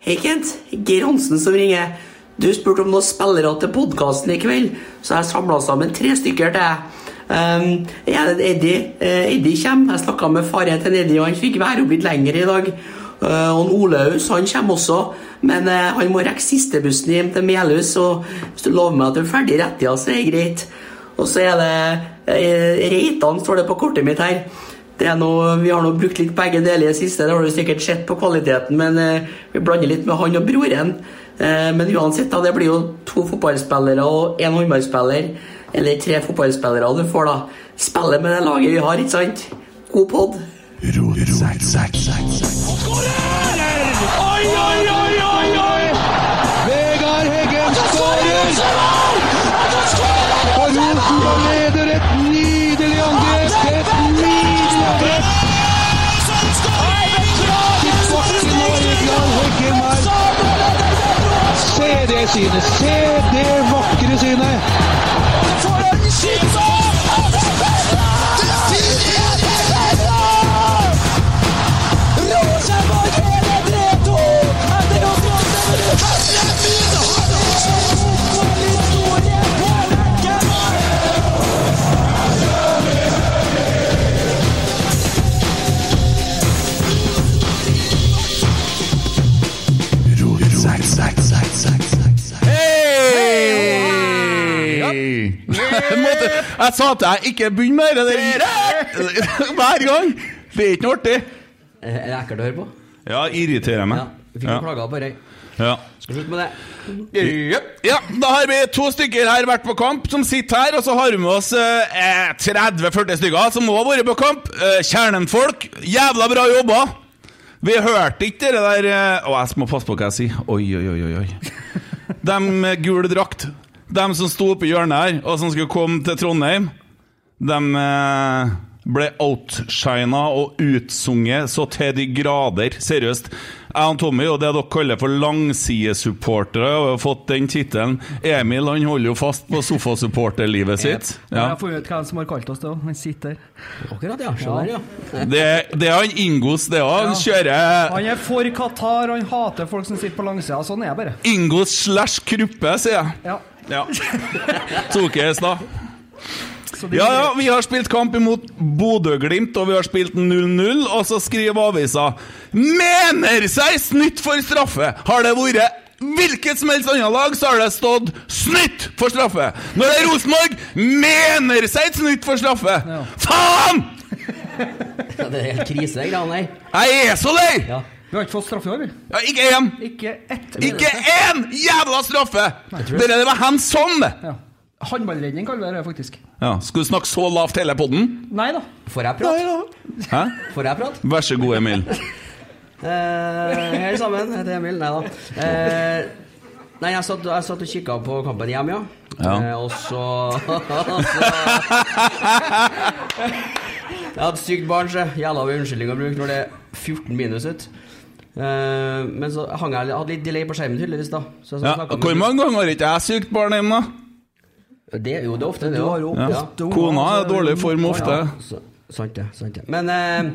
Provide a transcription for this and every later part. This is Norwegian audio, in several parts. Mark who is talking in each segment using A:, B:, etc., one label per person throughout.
A: Hei, Kent. Geir Hansen som ringer. Du spurte om noen spillere til podkasten i kveld, så jeg samla sammen tre stykker til deg. Um, jeg er Eddie. Eh, Eddie kommer. Jeg snakka med faren til Eddie, og han fikk være opp litt lenger i dag. Eh, og Olaus han kommer også, men eh, han må rekke siste bussen hjem til Melhus. Og hvis du lover meg at du er ferdig i rettida, så er det greit. Og så er det eh, Reitan, står det på kortet mitt her. Det er noe, vi har nå brukt litt begge deler i det siste, det har du sikkert sett på kvaliteten, men eh, vi blander litt med han og broren. Eh, men uansett, da, det blir jo to fotballspillere og én håndballspiller. Eller tre fotballspillere du får, da. Spiller med det laget vi har, ikke sant? God pod.
B: Skårer! Oi, oi, oi, oi, oi!
C: Vegard Heggen skårer!
B: Skårer!
C: Og Rosenborg leder et nydelig angrep! Et nydelig angrep! Bakken og Vegard Heggen her. Se det synet! Se det vakre synet!
D: Hei! Måtte, jeg sa til deg ikke begynn med det der hver gang! Det er ikke noe artig.
A: Er det ekkelt å høre på?
D: Ja, irriterer meg. Ja.
A: klager på det.
D: Ja.
A: Skal slutte med det.
D: ja, da har vi to stykker her vært på kamp, som sitter her. Og så har vi med oss eh, 30-40 stykker som òg har vært på kamp. Eh, Kjernenfolk. Jævla bra jobba! Vi hørte ikke det der eh, Å, jeg må passe på hva jeg sier. Oi, oi, oi, oi, oi. De med gul drakt. De som sto oppe i hjørnet her, og som skulle komme til Trondheim. De eh, ble outshina og utsunget så til de grader. Seriøst. Jeg og Tommy og det dere kaller for langsidesupportere, og har fått den tittelen. Emil han holder jo fast på sofasupporterlivet sitt.
E: Ja.
D: Ja.
E: Jeg får ut hvem som har kalt oss det òg. Han sitter der.
A: Akkurat, ja. Se der, ja.
D: Det, det er han Ingos, det òg. Han kjører
E: Han er for Qatar, han hater folk som sitter på langsida. Sånn er jeg bare.
D: Ingos slash Kruppe, sier jeg.
E: Ja.
D: Ja. Tok jeg i stad.
E: Så det-
D: Ja, ja, vi har spilt kamp imot Bodø-Glimt, og vi har spilt 0-0, og så skriver avisa Mener seg snytt for straffe! Har det vært hvilket som helst annet lag, så har det stått 'snytt for straffe'. Når det er Rosenborg, mener seg et snytt for straffe!
E: Ja.
D: Faen!
A: Ja, Det er helt krise, de greiene der.
D: Jeg er så lei!
A: Ja.
E: Vi har ikke fått straffe i år, vi.
D: Ja, ikke én!
E: Ikke ett.
D: Ikke én jævla straffe! Det der var hands on, det!
E: Ja. Håndballredning kaller vi det faktisk.
D: Ja, skal du snakke så lavt hele podden?
E: Nei da.
A: Får jeg prate?
D: Hæ?
A: Får jeg prate?
D: Vær så god, Emil.
A: Eh, Hei sammen, jeg heter Emil. Nei da. Eh, nei, jeg satt, jeg satt og kikka på kampen hjemme, ja.
D: Ja.
A: Eh, og så og så- Jeg hadde et sykt barn, så jævla mye unnskyldning å bruke når det er 14 minus ute. Eh, men så hang jeg, jeg hadde litt delay på skjermen, tydeligvis. da så jeg
D: Ja,
A: snakket med-
D: hvor mange ganger har ikke jeg sykt barn hjemme, da?
A: Det er jo det er ofte, det.
E: Du
A: da.
E: har jo
D: Ja.
E: åtte unger,
D: Kona
E: så
D: er i dårlig form ofte.
A: Ja, så- Sant det. sant det Men eh,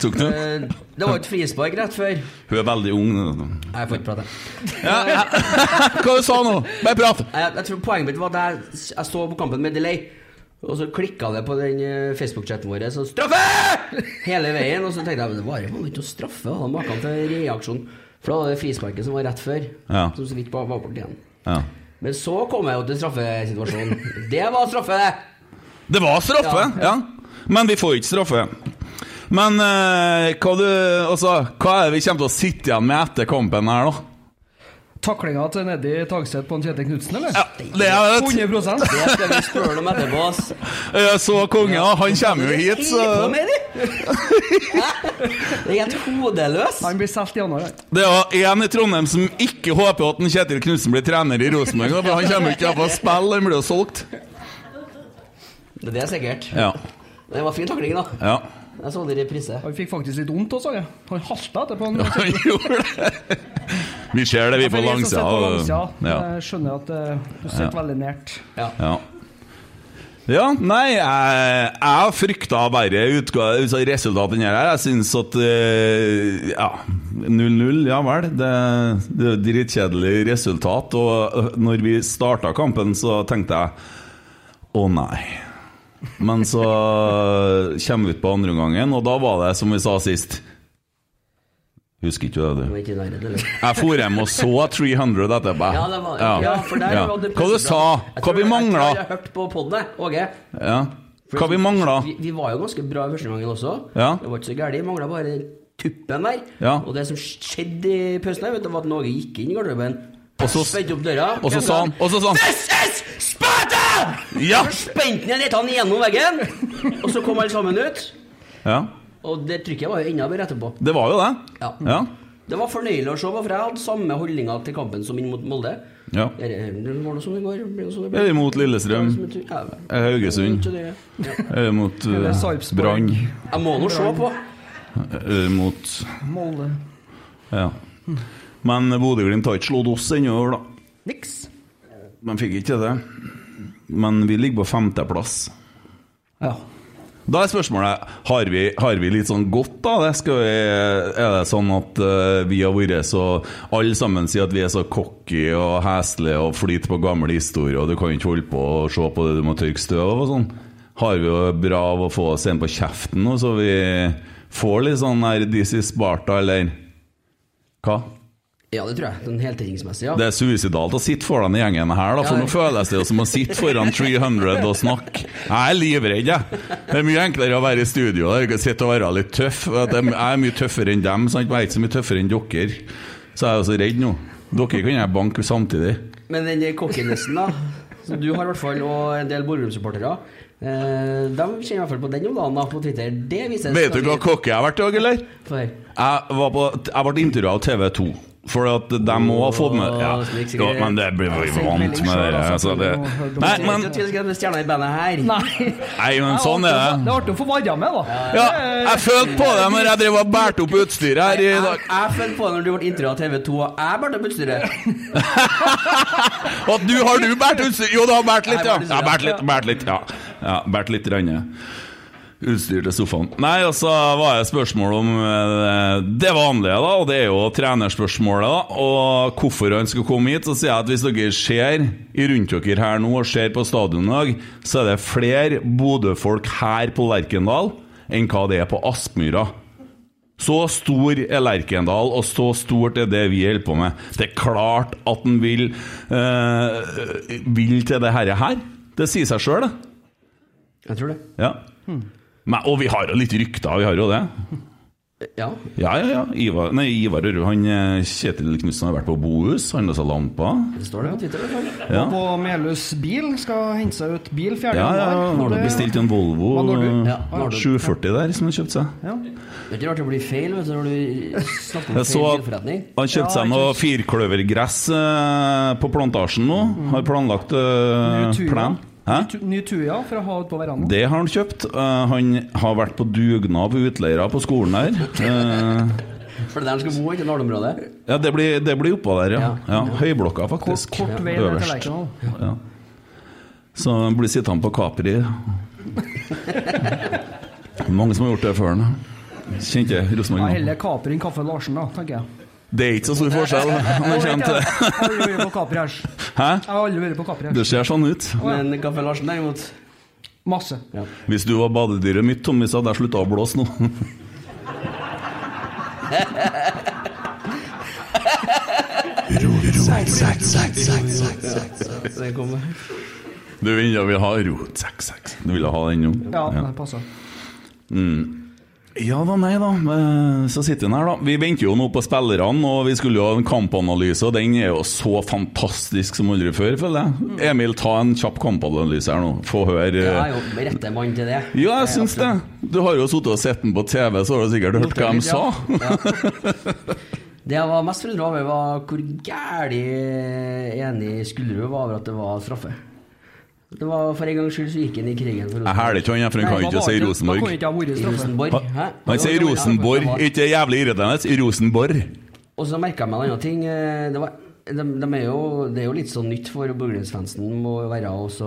D: Tok du?
A: eh, det var jo et frispark rett før. Nei,
D: Hun er veldig ung.
A: Jeg får ikke prate.
D: Hva du sa nå? Bare prat!
A: jeg, jeg tror poenget mitt var at jeg, jeg så på kampen med delay. Og så klikka det på den eh, Facebook-chatten vår. Så straffe! Hele veien. Og så tenkte jeg men det var jo ikke å straffe. Og da maken til reaksjon. For da var det frisparket som var rett før.
D: Ja.
A: Som så vidt var var borti igjen.
D: Ja.
A: Men så kom jeg jo til straffesituasjonen. Det var straffe!
D: Det var
A: Ja,
D: straffe, ja. Men vi får ikke straffe. Men eh, hva, du, altså, hva er det vi kommer til å sitte igjen med etter kampen her, da?
E: Taklinga til Neddy Tagset på en Kjetil Knutsen, eller?
D: Ja, det er et,
E: 100
A: Det skal vi spørre om etterpå, ass.
D: Jeg Eh, så kongen, ja, han kommer jo hit, så
A: Hva med det? Hæ? Det er helt hodeløs.
E: Han blir solgt i januar. han.
D: Det er jo en i Trondheim som ikke håper at en Kjetil Knutsen blir trener i Rosenborg. da, For han kommer jo ikke til å spille, han blir jo solgt.
A: Det er sikkert.
D: Ja.
A: Det var fin takling, da.
D: ja.
A: Jeg så det i reprise.
E: Han fikk faktisk litt vondt også, ja. Han halta etterpå. Han,
D: Han gjorde det. Vi ser det, vi på
E: For de som sitter
D: langsida.
E: på
D: og-
E: langsida,
D: Ja.
E: Jeg skjønner at eh, du sitter veldig nært.
A: Ja.
D: Ja. Ja, nei, jeg, jeg frykta verre utga- altså, resultat enn det her. Jeg syns at eh, Ja. 0-0, ja vel. Det, det er jo dritkjedelig resultat. Og øh, når vi starta kampen, så tenkte jeg å nei. Men så eh, kommer vi ut på andreomgangen, og da var det som vi sa sist. Husker ikke du det, du?
A: Ikke der, eller?
D: Jeg for hjem og så 300 etterpå.
A: Ja, det var, ja. for der
D: Ja.
A: var det
D: Hva du
A: presset
D: sa?
A: bra. Jeg tror- Jeg
D: Hva vi
A: tror jeg
D: mangla?
A: har hørt på podene, Åge.
D: Ja. Hva vi mangla?
A: Vi, vi var jo ganske bra i første gangen også.
D: Ja.
A: Det var ikke så gærent. Vi mangla bare den tuppen der.
D: Ja.
A: Og det som skjedde i pausen, her, vet du, var at Norge gikk inn i garderoben,
D: Og så-
A: spente opp døra
D: og så sa han- og så sa han-
A: This is Sparta!
D: Ja!
A: Så spente han lettene gjennom veggen, og så kom alle sammen ut.
D: ja.
A: Og det trykket var jo enda bedre etterpå.
D: Det var jo det.
A: Ja.
D: Ja.
A: Det var fornøyelig å se, for jeg hadde samme holdninga til kampen som inn mot Molde.
D: ja.
A: Er Det det var noe som det går. blir det sånn det
D: Er
A: blir.
D: vi mot Lillestrøm?
A: Ja,
D: Er vi Haugesund?
A: ikke det. Ja.
D: Er vi mot
E: Er det
D: uh,
E: Sarpsborg?
D: Brann?
A: Jeg må nå se på.
D: Er vi mot
E: Molde.
D: Ja. Men Bodø-Glimt har ikke slått oss ennå, da.
E: Niks.
D: De fikk ikke til det. Men vi ligger på femteplass.
E: Ja.
D: Da er spørsmålet har vi, har vi litt sånn godt av det? Skal vi, er det sånn at eh, vi har vært så Alle sammen sier at vi er så cocky og heslige og flyter på gamle historier, og du kan ikke holde på og se på det, du må tørke støv og sånn. Har vi jo bra av å få oss en på kjeften nå, så vi får litt sånn her This is Sparta, eller hva?
A: Ja, det tror jeg. Den heltidingsmessige, ja.
D: Det er suicidalt å sitte foran den gjengen her, da, for
A: Ja.
D: nå føles det jo som å sitte foran 300 og snakke. Jeg er livredd, jeg. Det er mye enklere å være i studio der, sitte og være litt tøff. At Jeg jeg er mye tøffere enn dem, sant? jeg er ikke så mye tøffere enn dere. Så jeg er jo så redd nå. Dere kan jeg banke samtidig.
A: Men den cockinessen, da, som du har i hvert fall, og en del Borgum-supportere, eh, de kjenner i hvert fall på den om dagen da, på Twitter. Det vises
D: Vet du hva kokke jeg har vært i dag, eller?
A: For.
D: Jeg, var på, jeg ble intervjua av TV 2. For at de må ha fått med ja.
A: slik
D: Jo,
A: sikkert.
D: men det blir vi vant med. Det, altså, det. Nei,
A: Jeg
D: men
A: vet ikke at vi skal ha stjerna i bandet her.
E: Nei.
D: Nei, men sånn er det.
E: Det er artig å få være med, da.
D: Ja, jeg følte på det når jeg drev og bærte opp utstyret her i
A: Jeg,
D: dag.
A: jeg følte på det når du ble intervjua av TV 2, og jeg ble budsstyret.
D: Og du, har du bært utstyr? Jo, du har bært litt, ja.
A: Jeg
D: Ja,
A: har
D: bært
A: bært
D: litt, bært litt, ja. ja bært litt renne. Utstyr til sofaen. Nei, og så var det spørsmål om eh, det vanlige, da. Og det er jo trenerspørsmålet, da. Og hvorfor han skal komme hit. Så sier jeg at hvis dere ser i rundt dere her nå og ser på stadion i dag, så er det flere Bodø-folk her på Lerkendal enn hva det er på Aspmyra. Så stor er Lerkendal, og så stort er det vi holder på med. Det er klart at han vil, eh, vil til det herre her. Det sier seg sjøl, det.
A: Jeg tror det.
D: Ja. Men, og vi har jo litt rykter, vi har jo det.
A: Ja.
D: Ja, ja, ja. Ivar, nei, Ivar Ørre, han eh, Kjetil Knutsen har vært på Bohus, handla seg lamper.
A: Det står det på Twitter. i hvert fall.
D: Ja.
E: På Melhus bil. Skal hente seg ut bil 4.
D: Ja, ja,
E: januar.
D: har du
E: Det-
D: bestilt en Volvo
E: Hva når du?
D: eh,
A: Ja, når du.
D: 740 der, som han kjøpte seg?
E: Ja.
A: Det er ikke rart det blir feil vet du, når du snakker om
D: Jeg så
A: feil
D: at
A: bilforretning.
D: han kjøpte seg
E: Ja,
D: noe firkløvergress eh, på plantasjen nå. Har planlagt eh,
E: Ny Tuja.
D: plan. Hæ?
E: Tu- Ny Tuja for å ha ut på verandaen.
D: Det har han kjøpt. Eh, han har vært på dugnad på utleiere på skolen her. Eh,
A: For det er der han skal bo, ikke Nardområdet.
D: ja, det blir, det blir oppå der, ja.
A: Ja.
D: ja. Høyblokka,
E: Kort,
D: faktisk.
E: kort vei ned til
D: Øverst.
E: Lerkendal.
D: Ja. Så han blir sittende på Capri. Mange som har gjort det før han. Kjente jeg
E: Ja,
D: Rosenborg nå.
E: Heller Kaper enn Kaffe Larsen, da, tenker jeg.
D: Det er ikke så stor forskjell. Når det kommer
E: Jeg
D: til
E: har aldri vært på Kaper her.
D: Hæ?
E: Jeg har aldri vært på Kaper her.
D: Det ser sånn ut.
A: Men Kaffe Larsen derimot
E: Masse.
D: Hvis du var badedyret mitt, Tommy, så hadde jeg slutta å blåse nå.
A: Det kommer.
D: Du vil jeg vil ha rot, sekk, sekk. Du ville ha den nå?
E: Ja, det passer.
D: Ja da, nei da. eh, Så sitter den her, da. Vi venter jo nå på spillerne, og vi skulle jo ha en kampanalyse, og den er jo så fantastisk som aldri før, føler
E: Mm.
D: jeg. Emil, ta en kjapp kampanalyse her nå. Få høre.
A: Jeg er
D: eh.
A: jo den rette mann til det.
D: Ja, jeg syns det. Du har jo sittet og sett den på TV, så har du sikkert hørt hva de sa.
A: Det jeg var mest forundra over, var hvor gæli enig Skulderud var over at det var straffe. Det var For en gangs skyld så gikk han i krigen for
D: Jeg hæler ikke han, jeg, for han
E: Nei,
D: kan
E: hva
D: ikke
E: var
D: si
E: det? Da
D: Rosenborg.
E: kunne ikke jeg
A: I
E: ha vært straffe.
A: Rosenborg. Hæ? liksom-
D: Han sier Rosenborg, ikke jævlig irriterende. Rosenborg.
A: Og så merka jeg meg en annen ting. eh, Det var, de, de er jo, det er jo litt sånn nytt for Borgerlandsfansen må jo være også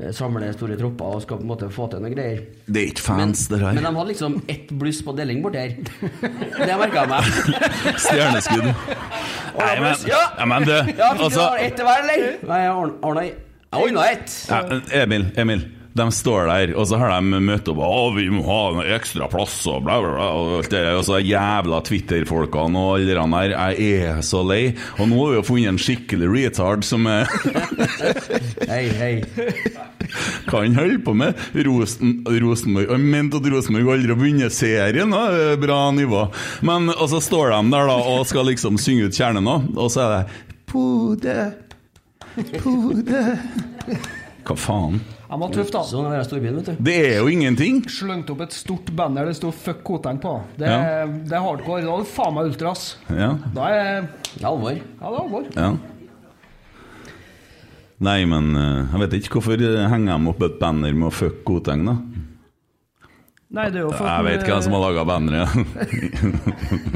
F: eh, samle store tropper og skal på en måte få til noe greier.
D: Det er ikke fans, det
F: Men
D: her.
F: de hadde liksom ett bluss på deling borti her. Det merka jeg meg.
D: Stjerneskudd. Nei, men,
F: ja.
D: ja, men du,
F: Ja, fikk du
D: altså
F: ett til hver, eller? Nei, jeg ordna- ordna Jeg ordna ett.
D: Ja, Emil, Emil. De står der, og så har de møtt opp og vi må ha noe ekstra plass og bla, bla, bla. Og alt det der, og så de jævla Twitter-folkene og alle de der. Jeg er så lei. Og nå har vi jo funnet en skikkelig retard som eh,
F: Hei, hei.
D: kan holde på med Rosen, Rosenborg. Han mente at Rosenborg aldri har vunnet serien. Da. Det er Bra nivå. Men, og så står de der da og skal liksom synge ut kjernen, da. og så er det Bodø, Bodø Hva faen?
E: Jeg var tøff, da.
F: Sånn er det i storbyen, vet du.
D: Det er jo ingenting.
E: Slengte opp et stort banner det sto 'fuck Koteng' på. Det,
D: Ja.
E: det er hardcore. Da er det faen meg ultras.
D: Ja,
E: Da er
F: Det er alvor.
E: Ja, det er alvor.
D: ja. Nei, men eh, jeg vet ikke hvorfor eh, henger de opp et banner med å fuck Koteng, da?
E: Nei, det er jo for
D: Jeg vet hvem som har laga banneret.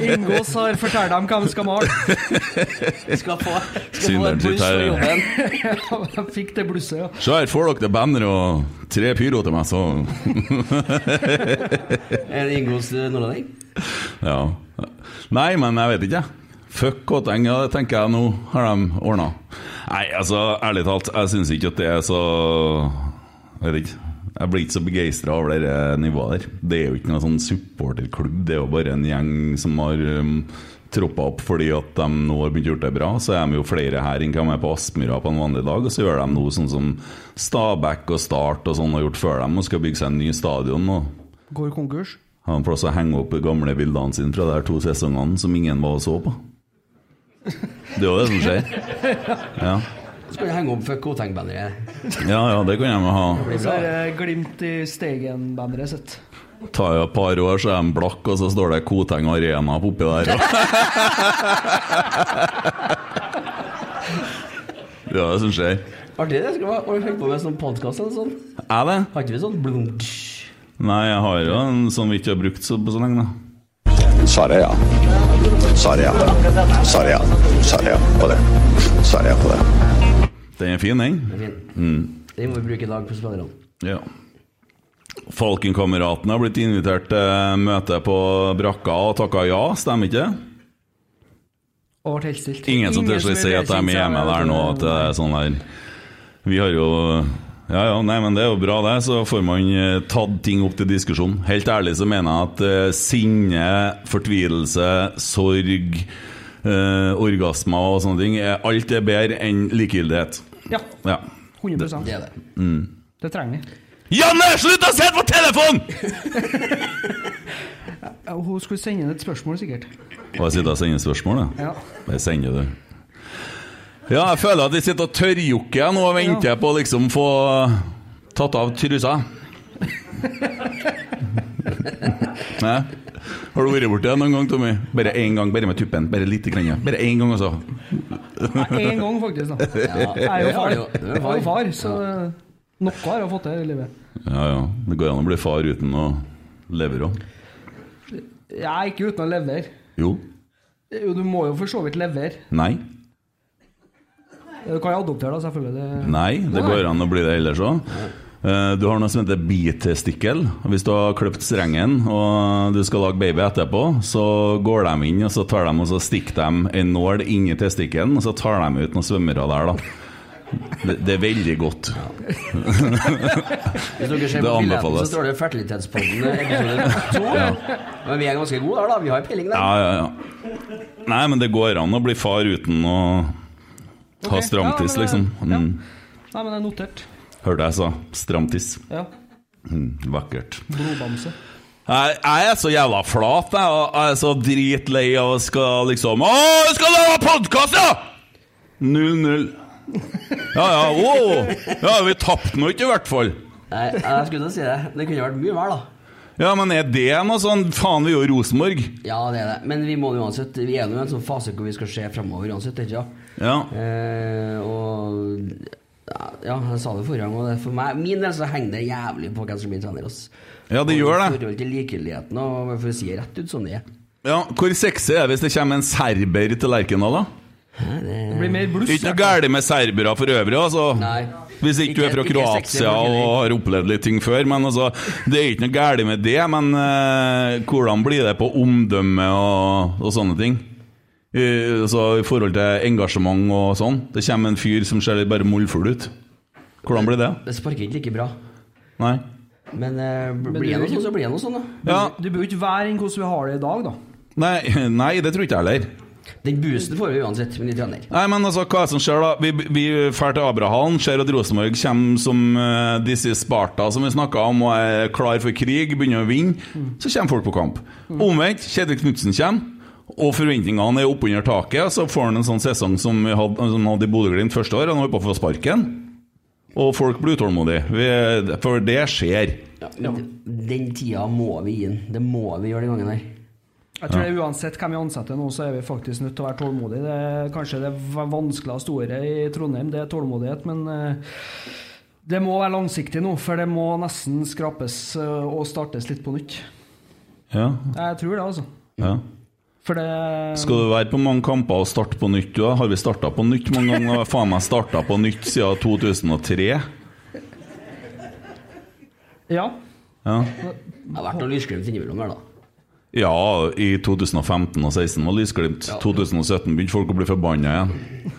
E: Ingås har fortalt dem hva de skal male.
F: Skal få, skal få
D: Synderen
F: et bluss
D: sitter her,
F: for
D: ja.
F: jobben.
E: Jeg fikk det blusset, ja.
D: Så her får dere det banneret og tre pyro til meg, så
F: Er det Ingos eh, nordlending?
D: Ja. Nei, men jeg vet ikke, jeg. Fuck Koteng, ja, det tenker jeg nå har de ordna. Nei, altså, ærlig talt, jeg syns ikke at det er så Jeg vet ikke. Jeg blir ikke så begeistra over det eh, nivået der. Det er jo ikke noen sånn supporterklubb, det er jo bare en gjeng som har um, troppa opp fordi at de nå har begynt å gjøre det bra. Så er de jo flere her enn hva de er på Aspmyra på en vanlig dag, og så gjør de noe sånn som Stabæk og Start og sånn har gjort før dem, og skal bygge seg en ny stadion. og
E: Går konkurs.
D: har han plass å henge opp gamle bildene sine fra de her to sesongene som ingen var og så på? Det er jo det som skjer. Ja,
F: Så kan jeg henge opp fuck Koteng-banneret.
D: ja, ja det kan de ha.
E: Og så er det Glimt i Steigen-banneret sitt.
D: Tar jo et par år, så er de blakk, og så står det Koteng Arena på oppi der. Det er det som skjer.
F: Artig det. Skal vi ha- har vi holdt på med sånn podkast eller sånn?
D: Er det?
F: Har ikke vi sånn blunk?
D: Nei, jeg har jo en sånn vi ikke har brukt så, på så lenge, da.
G: Svaret er ja. Svaret er ja. Svaret er ja. Svaret er ja på det. Svaret er ja på det.
D: Den er fin, den.
F: Det er fint.
D: Mm.
F: Den må vi bruke i dag på spillerne.
D: Ja. Falkenkameratene har blitt invitert til møte på brakka og takka ja, stemmer ikke det?
E: Og ble helt stilt.
D: Ingen som tør
E: vil
D: å si at de er hjemme der nå, at det er sånn der Vi har jo Ja ja, nei, men det er jo bra, det. Så får man eh, tatt ting opp til diskusjon. Helt ærlig så mener jeg at eh, sinne, fortvilelse, sorg, eh, orgasmer og sånne ting er- Alt er bedre enn likegyldighet.
E: Ja.
D: Ja.
E: 100
F: Det
E: Det,
F: er det.
E: trenger vi.
D: Janne, slutt å se på telefonen!
E: Ja, Hun skulle sende inn et spørsmål, sikkert.
D: Og jeg sitter og sender spørsmål, da.
E: Ja.
D: Det sender du. Ja, jeg føler at jeg sitter og tørrjokker jeg nå og venter på å liksom få tatt av trusa. Nei. Har du vært borti det noen gang, Tommy? Bare én gang, bare med tuppen. Bare lite grann. ja. Bare én gang, altså.
E: Nei, én gang, faktisk. da. Jeg er jo
F: Ja,
E: far.
F: det er jo- det er jo
E: Jeg er jo
F: far.
E: far, så eh, noe har jeg fått til i livet.
D: Ja ja, det går an å bli far uten å leve òg.
E: Jeg er ikke uten å levere.
D: Jo.
E: Jo, du må jo for så vidt levere.
D: Nei.
E: Du kan jo adoptere, da, selvfølgelig. Det...
D: Nei, det går an å bli det ellers òg. Du har noe som heter bitestikkel. Hvis du har kløpt strengen og du skal lage baby etterpå, så går de inn og så tar de og så stikker de en nål inni testikkelen, og så tar de ut noen svømmere der, da. Det, det er veldig godt.
F: Hvis dere ser
D: Det
F: på billetten, så
D: anbefales.
F: står det Fertilitetspodden eh, episode to. Men vi er ganske gode der, da. Vi har peiling der.
D: Ja, ja, ja. Nei, men det går an å bli far uten å ha
E: Ok.
D: stramtiss,
E: Ja,
D: liksom.
E: men,
D: Mm.
E: Nei, men det er notert.
D: Hørte jeg sa stramtiss.
E: Ja.
D: Mm, Vakkert.
E: Blodbamse.
D: Jeg, jeg er så jævla flat, jeg, og jeg er så dritlei av å skal liksom Å, jeg skal lage podkast, ja! 0-0. Ja ja, wow. Ja, vi tapte nå ikke, i hvert fall.
F: Nei, jeg skulle til å si det. Det kunne vært mye mer, da.
D: Ja, men er det noe sånn Faen, vi er jo Rosenborg.
F: Ja, det er det. Men vi må uansett Vi er nå i en sånn fase hvor vi skal se fremover uansett, ikke sant?
D: Ja.
F: Eh, og ja, jeg sa det forrige gang, og det er for meg min del så henger det jævlig på hvem som blir trener. Ass.
D: Ja, det gjør
F: I
D: det.
F: forhold til likegyldigheten, og for å si det rett ut som det er.
D: Ja, Hvor sexy er det hvis det kommer en serber til Lerkendal, da?
F: Hæ,
E: Det blir mer bluss.
D: Det er ikke noe galt med serbere for øvrig, altså.
F: Nei.
D: Hvis ikke, du er fra
F: Ikke- ikke sexy
D: Kroatia
F: folk heller.
D: og har opplevd litt ting før. Men altså, det er ikke noe galt med det. Men eh, hvordan blir det på omdømme og, og sånne ting? I, altså, I forhold til engasjement og sånn. Det kommer en fyr som ser litt bare mollfull ut. Hvordan blir det?
F: Det sparker ikke like bra.
D: Nei?
F: Men eh, bl-
E: Men
F: blir
E: du-
F: det noe sånn, så blir det noe sånn, da.
D: Ja.
E: Du bør jo ikke være inn hvordan vi har det i dag, da.
D: Nei, nei, det tror ikke jeg heller.
F: Den boosten får vi uansett med litt trener.
D: Nei, men altså, hva er det som skjer da? Vi, vi drar til Abrahallen, ser at Rosenborg kommer som uh, disse Sparta som vi snakket om, og er klar for krig, begynner å vinne. Så kommer folk på kamp. Omvendt, Kjetil Knutsen kommer, og forventningene er oppunder taket. og Så får han en sånn sesong som vi hadde, som han hadde i Bodø-Glimt første år, og han holder på å få sparken. Og folk blir utålmodige, vi, for det skjer.
F: Ja, men d- Den tida må vi gi den. Det må vi gjøre den gangen her.
E: Jeg tror det er Uansett hvem vi ansetter nå, så er vi faktisk nødt til å være tålmodige. Det er kanskje det v- vanskeligste ordet i Trondheim, det er tålmodighet, men eh, det må være langsiktig nå, for det må nesten skrapes eh, og startes litt på nytt.
D: Ja,
E: Jeg tror det, altså.
D: ja.
E: For det
D: Skal du være på mange kamper og starte på nytt? Du, da? har vi starta på nytt mange ganger? Jeg har Faen meg starta på nytt siden 2003.
E: Ja.
D: Ja.
F: Det har vært noe lysglimt innimellom her, da.
D: Ja, i 2015 og 2016 var lysglimt.
F: Ja.
D: 2017 begynte folk å bli forbanna igjen.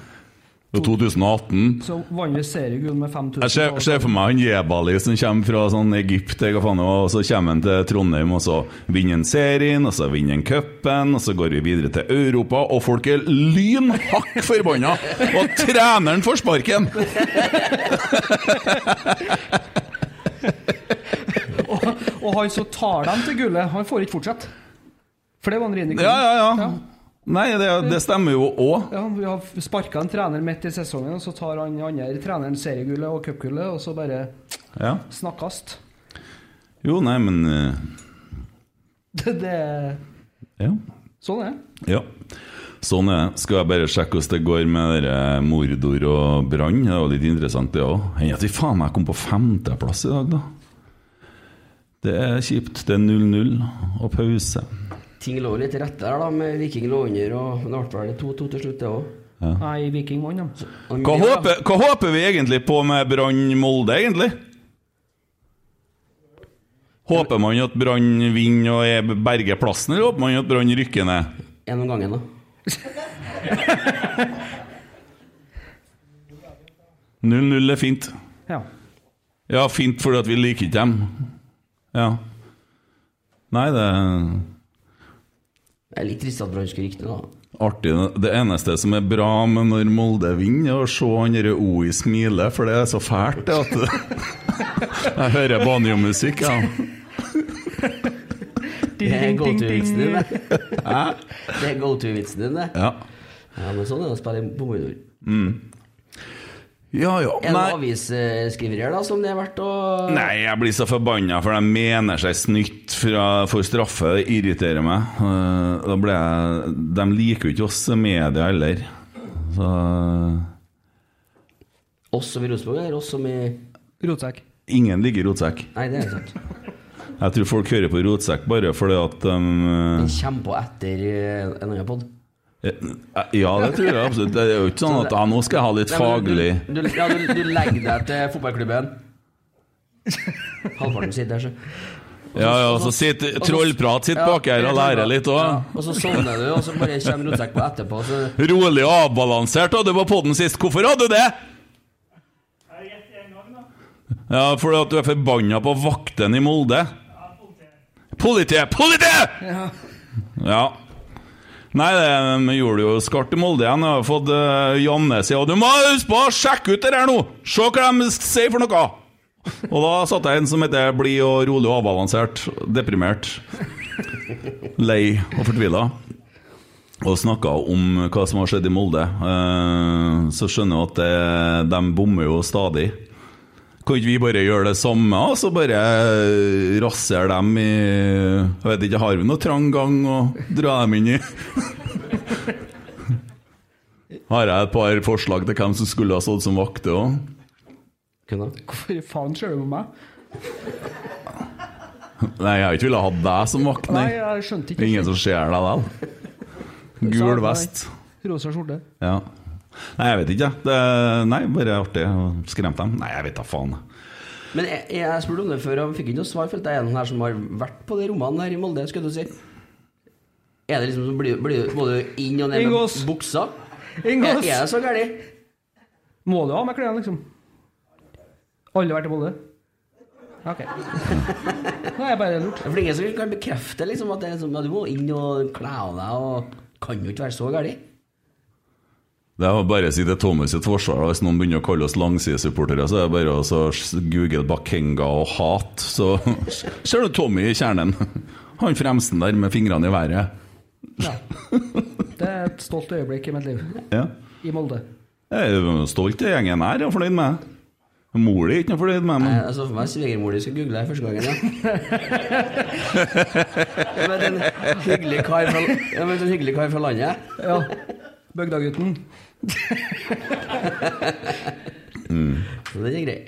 D: Og 2018
E: Så vant vi seriegull med 5000.
D: Jeg ser,
E: og-
D: ser for meg han Jebali som kommer fra sånn Egypt, eller hva faen det var, og så kommer han til Trondheim, og så vinner han serien, og så vinner han cupen, og så går vi videre til Europa, og folk er lynhakk forbanna! Og treneren får sparken!
E: Og han som tar dem til gullet, han får ikke fortsette. For det var en Rine
D: Ja, ja, ja. Nei, det, det stemmer jo òg.
E: Ja, vi har sparka en trener midt i sesongen, og så tar han andre treneren seriegullet og cupgullet, og så bare
D: Ja.
E: snakkast.
D: Jo, nei, men
E: Det, det er-
D: eh, Ja.
E: Sånn er det.
D: Ja. Sånn er det. Skal jeg bare sjekke hvordan det går med dere mordor og brann? Det var litt interessant, det òg. Enn at vi faen meg kom på femteplass i dag, da. Det er kjipt. Det er 0-0 og pause.
F: Ting lå litt til rette der, da, med Viking lå under, og men det ble vel 2-2 til slutt, det òg.
E: Nei, Viking vant, de.
D: Hva håper, hva håper vi egentlig på med Brann-Molde, egentlig? Håper man at Brann vinner og er- berger plassen, eller håper man at Brann rykker ned?
F: En om gangen, da.
D: Null null er fint.
E: Ja.
D: Ja, fint fordi at vi liker ikke dem. Ja. Nei, det er
F: Det er litt trist at Brann skulle rykke ned, da.
D: artig. Det eneste som er bra med når Molde vinner, er å se han derre OI smile, for det er så fælt, det at Jeg hører banjomusikk, ja.
F: Det er
E: Ding,
F: go
E: ding,
F: to-vitsen
E: ding.
F: din, det. Det er go to-vitsen din, det.
D: Ja,
F: Ja, men sånn er det å spille på mordor.
D: ja. ja.
F: En
D: Nei.
F: avisskriver her, da, som det er verdt å
D: Nei, jeg blir så forbanna, for de mener seg snytt fra, for straffe. Det irriterer meg. Eh, Da ble jeg De liker jo ikke oss media heller. Så eh,
F: Oss som i Rosenborg, eller oss som i
E: Rotsekk.
D: Ingen liker rotsekk.
F: Nei, det er sant.
D: Jeg tror folk hører på rotsekk bare fordi at um, eh,
F: Den kommer på etter eh, en annen pod.
D: Ja, det tror jeg absolutt. Det er jo ikke sånn at ja, nå skal jeg ha litt faglig
F: Du, du, ja, du, du legger deg til fotballklubben. Halvparten sitter der, så.
D: Ja, ja, så sitter trollprat sitt
F: Ja,
D: bak her og lærer litt
F: Ja,
D: òg.
F: og så sovner du, og så bare kommer rotsekk på etterpå. Så
D: Rolig og avbalansert hadde du på podden sist. Hvorfor hadde du det? Ja, fordi at du er forbanna på vakten i Molde. Politiet! Politiet! Ja. Nei, det vi gjorde jo skarpt i Molde igjen. Jeg har fått uh, Janne si Og du må huske på å sjekke ut det der nå! Se hva de sier for noe! Og da satt jeg en som heter Blid og rolig og avbalansert. Deprimert. Lei og fortvila. Og snakka om hva som har skjedd i Molde. Eh, Så skjønner jeg at det, de bommer jo stadig. Kan ikke vi bare gjøre det samme, og så bare rasere dem i Jeg vet ikke, har vi noe trang gang å dra dem inn i? Har jeg et par forslag til hvem som skulle ha stått som vakter òg?
F: kunne
E: Hvorfor faen ser du på meg?
D: Nei, jeg har ikke villet ha deg som vakt,
E: Nei,
D: nei.
E: jeg skjønte
D: Det er
E: ikke.
D: ingen som ser deg vel. Gul vest.
E: Rosa skjorte.
D: Ja. Nei, jeg vet ikke. jeg. Det, nei, bare artig. Skremte dem. Nei, jeg vet da faen.
F: Men jeg, jeg spurte om det før, og fikk ikke noe svar. Følte jeg er noen her som har vært på de rommene her i Molde, skulle du si. Er det liksom som blir, blir Må du inn og ned med
E: Ingås.
F: buksa? Er,
E: Ingås!
F: er det så gærent?
E: Må du ha med klærne, liksom? Alle vært i Molde? Ok. Nå er jeg bare lurt.
F: For det er ingen som kan bekrefte liksom, at det er som, ja, du må inn og kle av deg, og kan jo ikke være så gærent.
D: Det er bare å si til Thomas sitt forsvar. da. Hvis noen begynner å kalle oss langsidesupportere, så er det bare å så s- google Bakenga og hat, så ser du Tommy i kjernen. Han fremsten der med fingrene i været.
E: Ja. Det er et stolt øyeblikk i mitt liv.
D: Ja.
E: I Molde.
D: Jeg er jo stolt av gjengen her, jeg er fornøyd med. Mor di er ikke noe fornøyd med, men
F: Jeg så altså, for meg svigermor di skulle google deg første gangen. Ja. Med en hyggelig kar fra, ja, men en hyggelig kar fra landet.
E: Ja. Bygdagutten.
F: Så den er grei.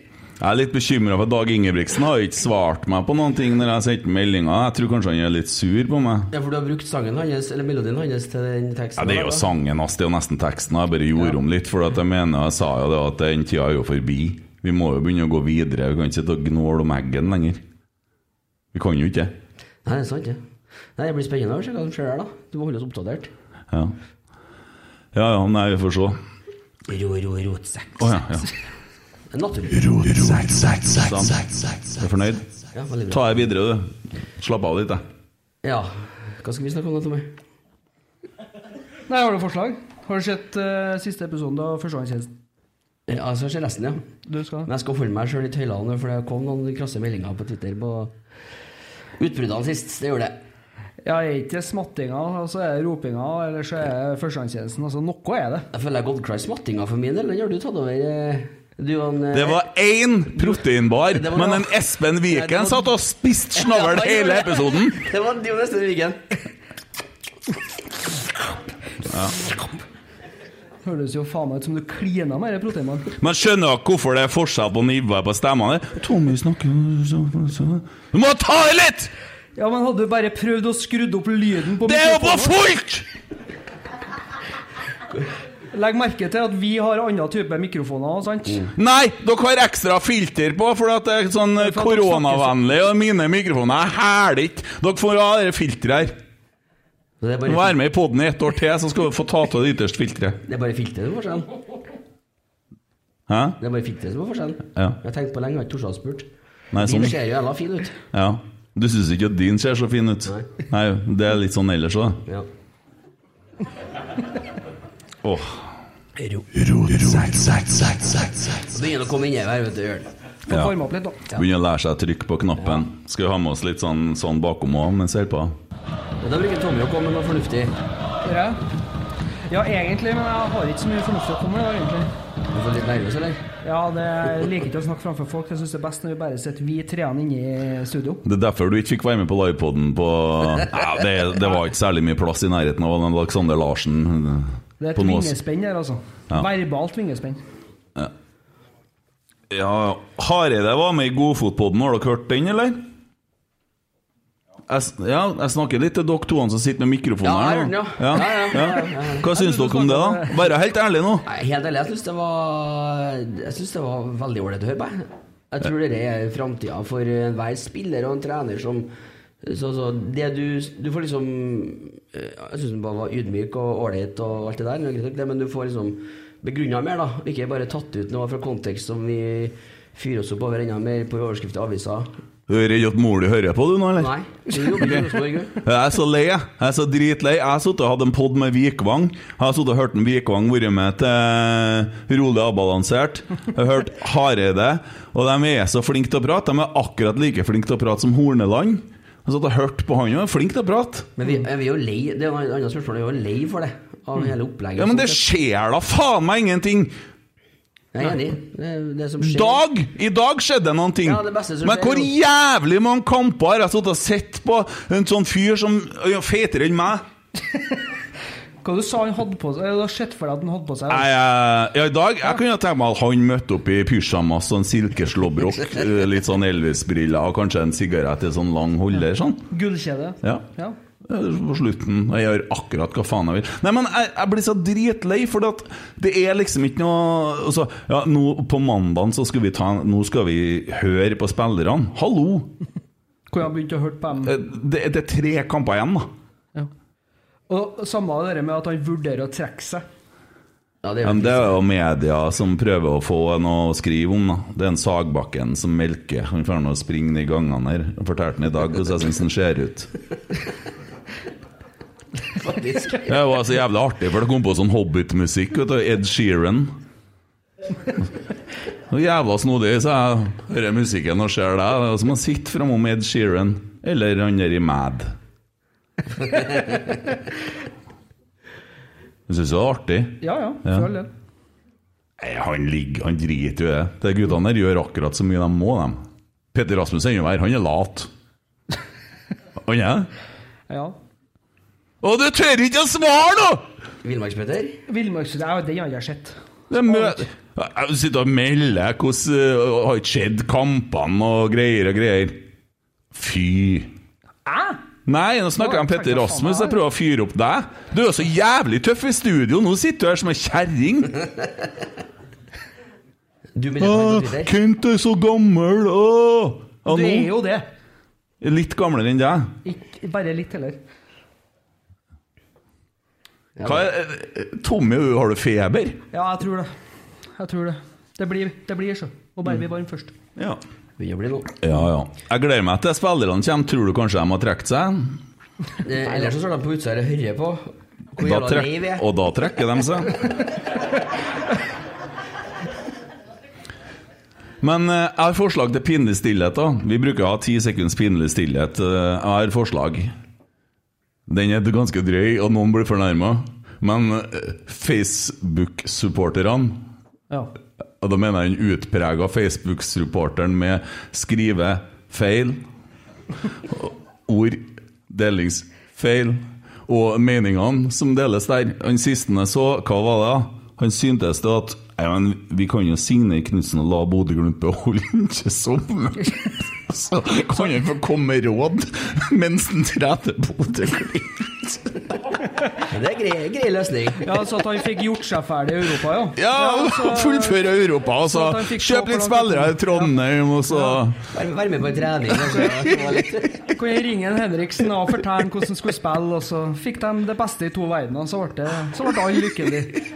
D: jeg er litt bekymra for Dag Ingebrigtsen. Har ikke svart meg på noen ting når jeg har sendt meldinga. Jeg tror kanskje han er litt sur på meg.
F: Ja, for du har brukt sangen hans, eller melodien hans til den teksten.
D: Ja, Det er
F: her,
D: jo
F: da.
D: sangen hans, det er jo nesten teksten. Jeg bare gjorde om litt, for at jeg mener jeg sa jo det at den tida er jo forbi. Vi må jo begynne å gå videre. Vi kan ikke sitte og gnåle om eggen lenger. Vi kan jo ikke det.
F: Nei, det er sant, ja. Nei, det blir spennende å se hva som skjer der, da. Du må holde oss oppdatert.
D: Ja. ja ja, nei, vi får se.
F: Ro, ro, rotsekk.
D: Å ja. ja.
F: Det er Naturlig.
D: Sånn. Er du fornøyd?
F: Ja, veldig bra.
D: Ta det videre, du. Slapp av litt, jeg.
F: Ja, hva skal vi snakke om da, Tommy?
E: Nei, har du forslag? Har du sett eh, siste episoden av Førstegangstjenesten?
F: Ja, så skjer resten, ja.
E: Du skal
F: Men jeg skal holde meg sjøl litt høylene, for det kom noen krasse meldinger på Twitter på utbruddene sist. Det gjorde det.
E: Ja, er ikke det smattinga, og så er det ropinga, eller så er det førstegangstjenesten. Altså, noe er det.
F: Jeg føler jeg har gått klar i smattinga for min del. Den har du tatt over. eh, Du og en, eh,
D: Det var én proteinbar,
F: Det var-
D: men en Espen
F: Nei, det var-
D: Viken satt og spiste
F: Ja,
D: snavl
F: det gjorde
D: hele
F: jeg.
D: episoden.
F: Det var det var nesten i ryggen.
E: Høres jo faen meg ut som du klina med denne proteinmannen.
D: Men skjønner dere hvorfor det er forskjell på nivået på stemmene? Tommy snakker så- så- Du må ta det litt!
E: Ja, men hadde du bare prøvd å skrudd opp lyden på
D: Det er jo på
E: mikrofonen?
D: fullt!
E: Legg merke til at vi har annen type mikrofoner, sant?
D: Nei, dere har ekstra filter på, for at det er sånn eh,
E: for at dere
D: koronavennlig, og mine mikrofoner er hæler ikke. Dere får ha det filteret her.
F: Så Det er bare,
D: Vær med i poden i ett år til, så skal du få ta av det ytterste filteret.
F: det er bare filteret som er forskjellen.
D: Hæ?
F: Det er bare filteret som er forskjellen.
D: Ja.
F: Jeg har tenkt på lenge, jeg har ikke tort å spurt.
D: Nei,
F: Din
D: sånn.
F: ser jo jævla fin ut.
D: Ja. Du syns ikke at din ser så fin ut? Nei, det er litt sånn ellers òg.
F: Ja.
D: Åh.
F: Ro. Så begynner det å komme inn i her, vet du. gjør det.
E: Få varme opp litt, da.
D: Begynner å lære seg å trykke på knappen. Skal vi ha med oss litt sånn, sånn bakom òg mens vi holder på?
F: Og Da bruker Tommy å komme med noe fornuftig.
E: Ja. ja, egentlig, men jeg har ikke så mye fornuftig å komme med, da, egentlig.
F: Du får litt nervøs, eller?
E: Ja, det jeg liker ikke å snakke framfor folk. Jeg syns det er best når vi bare sitter vi treene inne i studio.
D: Det er derfor du ikke fikk være med på livepoden på ja, det, det var ikke særlig mye plass i nærheten av Alexander Larsen. eh,
E: Det er
D: på
E: et
D: noe-
E: vingespenn der, altså.
D: Ja.
E: Verbalt vingespenn.
D: Ja, Hareide var med i Godfotpodden, har dere hørt den, eller? Jeg, s- ja, jeg snakker litt til dere to som sitter med mikrofonen
F: Ja,
D: her.
F: jeg
D: nå.
F: hører den, ja. Ja, ja, ja, ja, ja.
D: Hva syns dere om det, da? Være helt ærlig nå.
F: Nei, Helt ærlig, jeg syns det var Jeg synes det var veldig ålreit å høre på. jeg. Jeg tror det er framtida for enhver spiller og en trener som så, så det du, du får liksom eh, Jeg syns han bare var ydmyk og ålreit og alt det der, det er greit nok det, men du får liksom begrunna mer, da. og Ikke bare tatt ut noe fra kontekst som vi fyrer oss opp over enda mer på overskrifter i aviser.
D: Du er redd at mor di hører på, du nå, eller?
F: Nei. Du jobber ikke i Rosenborg, du.
D: Jeg er så lei, jeg. Jeg er så dritlei. Jeg har sittet og hatt en pod med Vikvang. Jeg har sittet og hørt en Vikvang være med til Rolig avbalansert. Jeg har hørt Hareide. Og de er så flinke til å prate. De er akkurat like flinke til å prate som Horneland. Jeg har sittet og hørt på han, og er flink til å prate.
F: Men vi, vi er jo lei Det er jo et annet spørsmål, vi er jo lei for det. Av hele opplegget.
D: Mm. Ja, men det skjer da faen meg ingenting!
F: Jeg er enig. Det, det som skjer
D: Dag! I dag skjedde noen ting.
F: Ja, det beste som
D: Men
F: skjer,
D: hvor
F: jo.
D: jævlig mange kamper har jeg sittet og sett på en sånn fyr som er fetere enn meg?
E: Hva du sa han hadde på seg? Du har sett for deg at han hadde på seg
D: Nei, eh, ja, i dag Jeg kunne tenkt meg at han møtte opp i pysjamas og en silkeslåbrok, eh, litt sånn Elvis-briller og kanskje en sigarett i sånn lang holder. sånn
E: altså. gullkjede?
D: Ja.
E: Ja.
D: På slutten. Jeg gjør akkurat hva faen jeg vil. Nei, men jeg, jeg blir så dritlei, for at det er liksom ikke noe altså, ja, nå, På mandagen så skal vi ta en- Nå skal vi høre på spillerne. Hallo!
E: Hvor jeg begynte å høre på dem.
D: Eh, Det, det er tre kamper igjen, da.
E: Ja. Og samme det der med at han vurderer å trekke seg.
F: Ja, det
D: Ja,
F: er
D: men
F: jo
D: det er jo media som prøver å få noe å skrive om. da Det er en Sagbakken som melker. Han får nå springe i gangene her. Jeg fortalte han i dag hvordan jeg syns han ser ut.
F: faktisk
D: Det var så jævlig artig, for det kom på sånn Hobbit-musikk. vet du, Ed Sheeran. Og jævla snodig, så jeg hører musikken og ser deg. Det er som å sitte framom Ed Sheeran eller han der i Mad. Jeg syns det er artig.
E: Ja, ja,
D: Ja.
E: for all del.
D: Nei, han ligger, han driter jo i det. De guttene der gjør akkurat så mye de må, dem. Petter Rasmus er jo her, han er lat. Han er det.
E: Ja.
D: Å, du tør ikke å svare, nå!
F: Villmarks-Petter.
E: Villmarks... Ja, den har jeg sett.
D: Det mø... Jeg sitter og melder hvordan øh, Har ikke skjedd kampene og greier og greier. Fy.
E: Hæ?
D: Nei, nå snakker jeg om Petter Rasmus. Jeg prøver å fyre opp deg. Du er jo så jævlig tøff i studio. Nå sitter du her som ei kjerring.
F: Du melder deg på Twitter.
D: Kent er så gammel. Åh. Ja,
E: Du er
D: nå.
E: jo det.
D: Litt gamlere enn deg.
E: Ikke bare litt heller.
D: Hva er, Tommy, har du feber?
E: Ja, jeg tror det. Jeg tror det. Det blir, det blir så. Må
D: Mm.
E: bare bli varm først.
D: Ja.
F: Begynner å bli noe.
D: ja, Jeg gleder meg til spillerne kommer. Tror du kanskje de har trukket seg?
F: Eh, Ellers så står de på utsida og hører på.
D: Da
F: Hvor jævla
D: trekk-
F: lei vi er.
D: og da trekker de seg. Men eh, jeg har forslag til pinlig stillhet. da Vi bruker å ha ti sekunds pinlig stillhet. Eh, Jeg har forslag. Den er ganske drøy, og noen blir fornærma. Men eh, Facebook-supporterne
E: Ja.
D: Og da mener jeg den utprega Facebook-supporteren med skrive feil, ord delings feil, og meningene som deles der. Han siste jeg så, hva var det? da? Han syntes det at Nei, men vi kan jo signere Knutsen og la Bodø-Glimt beholde han ikke som Så kan han få komme med råd mens han trener Bodø-Glimt.
F: Men Det er grei, grei løsning.
E: ja, så at han fikk gjort seg ferdig i Europa, ja.
D: Ja,
E: så-
D: fullføre Europa, og så
E: Så at han fikk se
D: kjøp
E: hvordan
D: litt spillere i
E: det-
D: Trondheim, og så
F: Vær, vær med på en trening. kanskje.
E: Kan jeg ringe en Henriksen og fortelle han hvordan han skulle spille, og så fikk de det beste i to verdener, så ble, det, så ble alle lykkelige.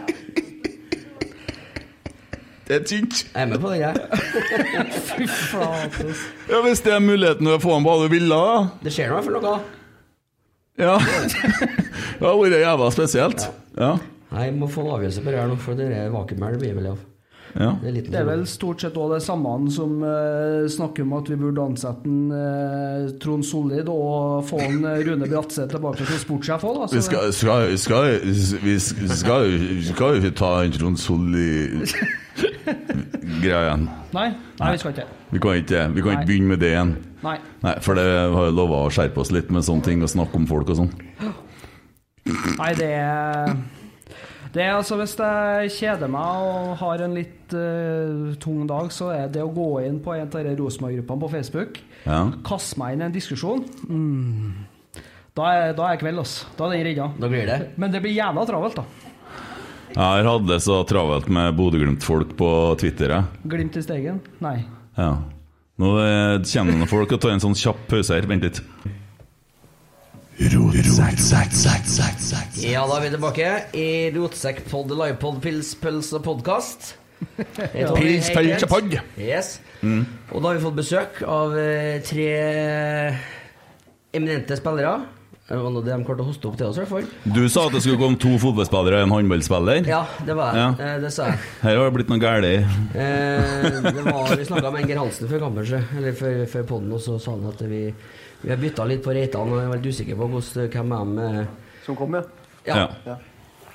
D: Det er tynt.
F: Jeg er med på den, jeg.
E: Fy altså. flate. ass.
D: Ja, Hvis det er muligheten til å få ham på alle ville, da.
F: Det skjer nå i hvert fall noe.
D: Ja. det har vært jævla spesielt. Ja.
F: Nei, Jeg må få en avgjørelse på det her nå, for det er vakuum her det blir vel av.
D: ja.
F: Det er liten
E: Det er vel stort sett også det samme han som eh, snakker om at vi burde ansette en, eh, Trond Sollid og få en eh, Rune Bratseth tilbake som sportssjef òg, da.
D: Vi
E: Så det,
D: skal, skal, skal, vi skal, vi skal jo ikke ta en Trond Solli-greien.
E: nei, nei, vi skal ikke det.
D: Vi kan ikke, vi kan
E: Nei.
D: ikke begynne med det igjen.
E: Nei.
D: Nei, For det har jo lova å skjerpe oss litt med sånne ting og snakke om folk og sånn.
E: Nei, det er det er altså Hvis jeg kjeder meg og har en litt eh, tung dag, så er det å gå inn på en av disse Rosenborg-gruppene på Facebook,
D: Ja.
E: kaste meg inn i en diskusjon mm. da, er, da er kveld, altså. Da er den redda.
F: Da blir det.
E: Men det blir jævla travelt, da.
D: Jeg har hatt det så travelt med Bodø-Glimt-folk på Twitter. jeg.
E: Glimt i stegen? Nei.
D: Ja. Nå eh, kjenner noen folk og tar en sånn kjapp pause her. Vent litt.
F: Ja, da er vi tilbake i Rotsekkpod, livepod, pils, pøls og podkast.
D: Pils, pøls og Mm. podd.
F: Yes. Og da har vi fått besøk av eh, tre eh, eminente spillere. Det var noe de klarte å hoste opp til oss, i hvert fall.
D: Du sa at det skulle komme to fotballspillere og en håndballspiller.
F: Ja, det var jeg.
D: Ja.
F: Eh, Det sa jeg.
D: Her har det blitt noe galt.
F: Eh, det var, vi snakka med Enger Hansen før kampen, så- eller før, før podden, og så sa han at vi, vi har bytta litt på Reitan, og jeg er veldig usikker på hvordan, hvem av dem eh,
E: Som kom, ja.
F: ja.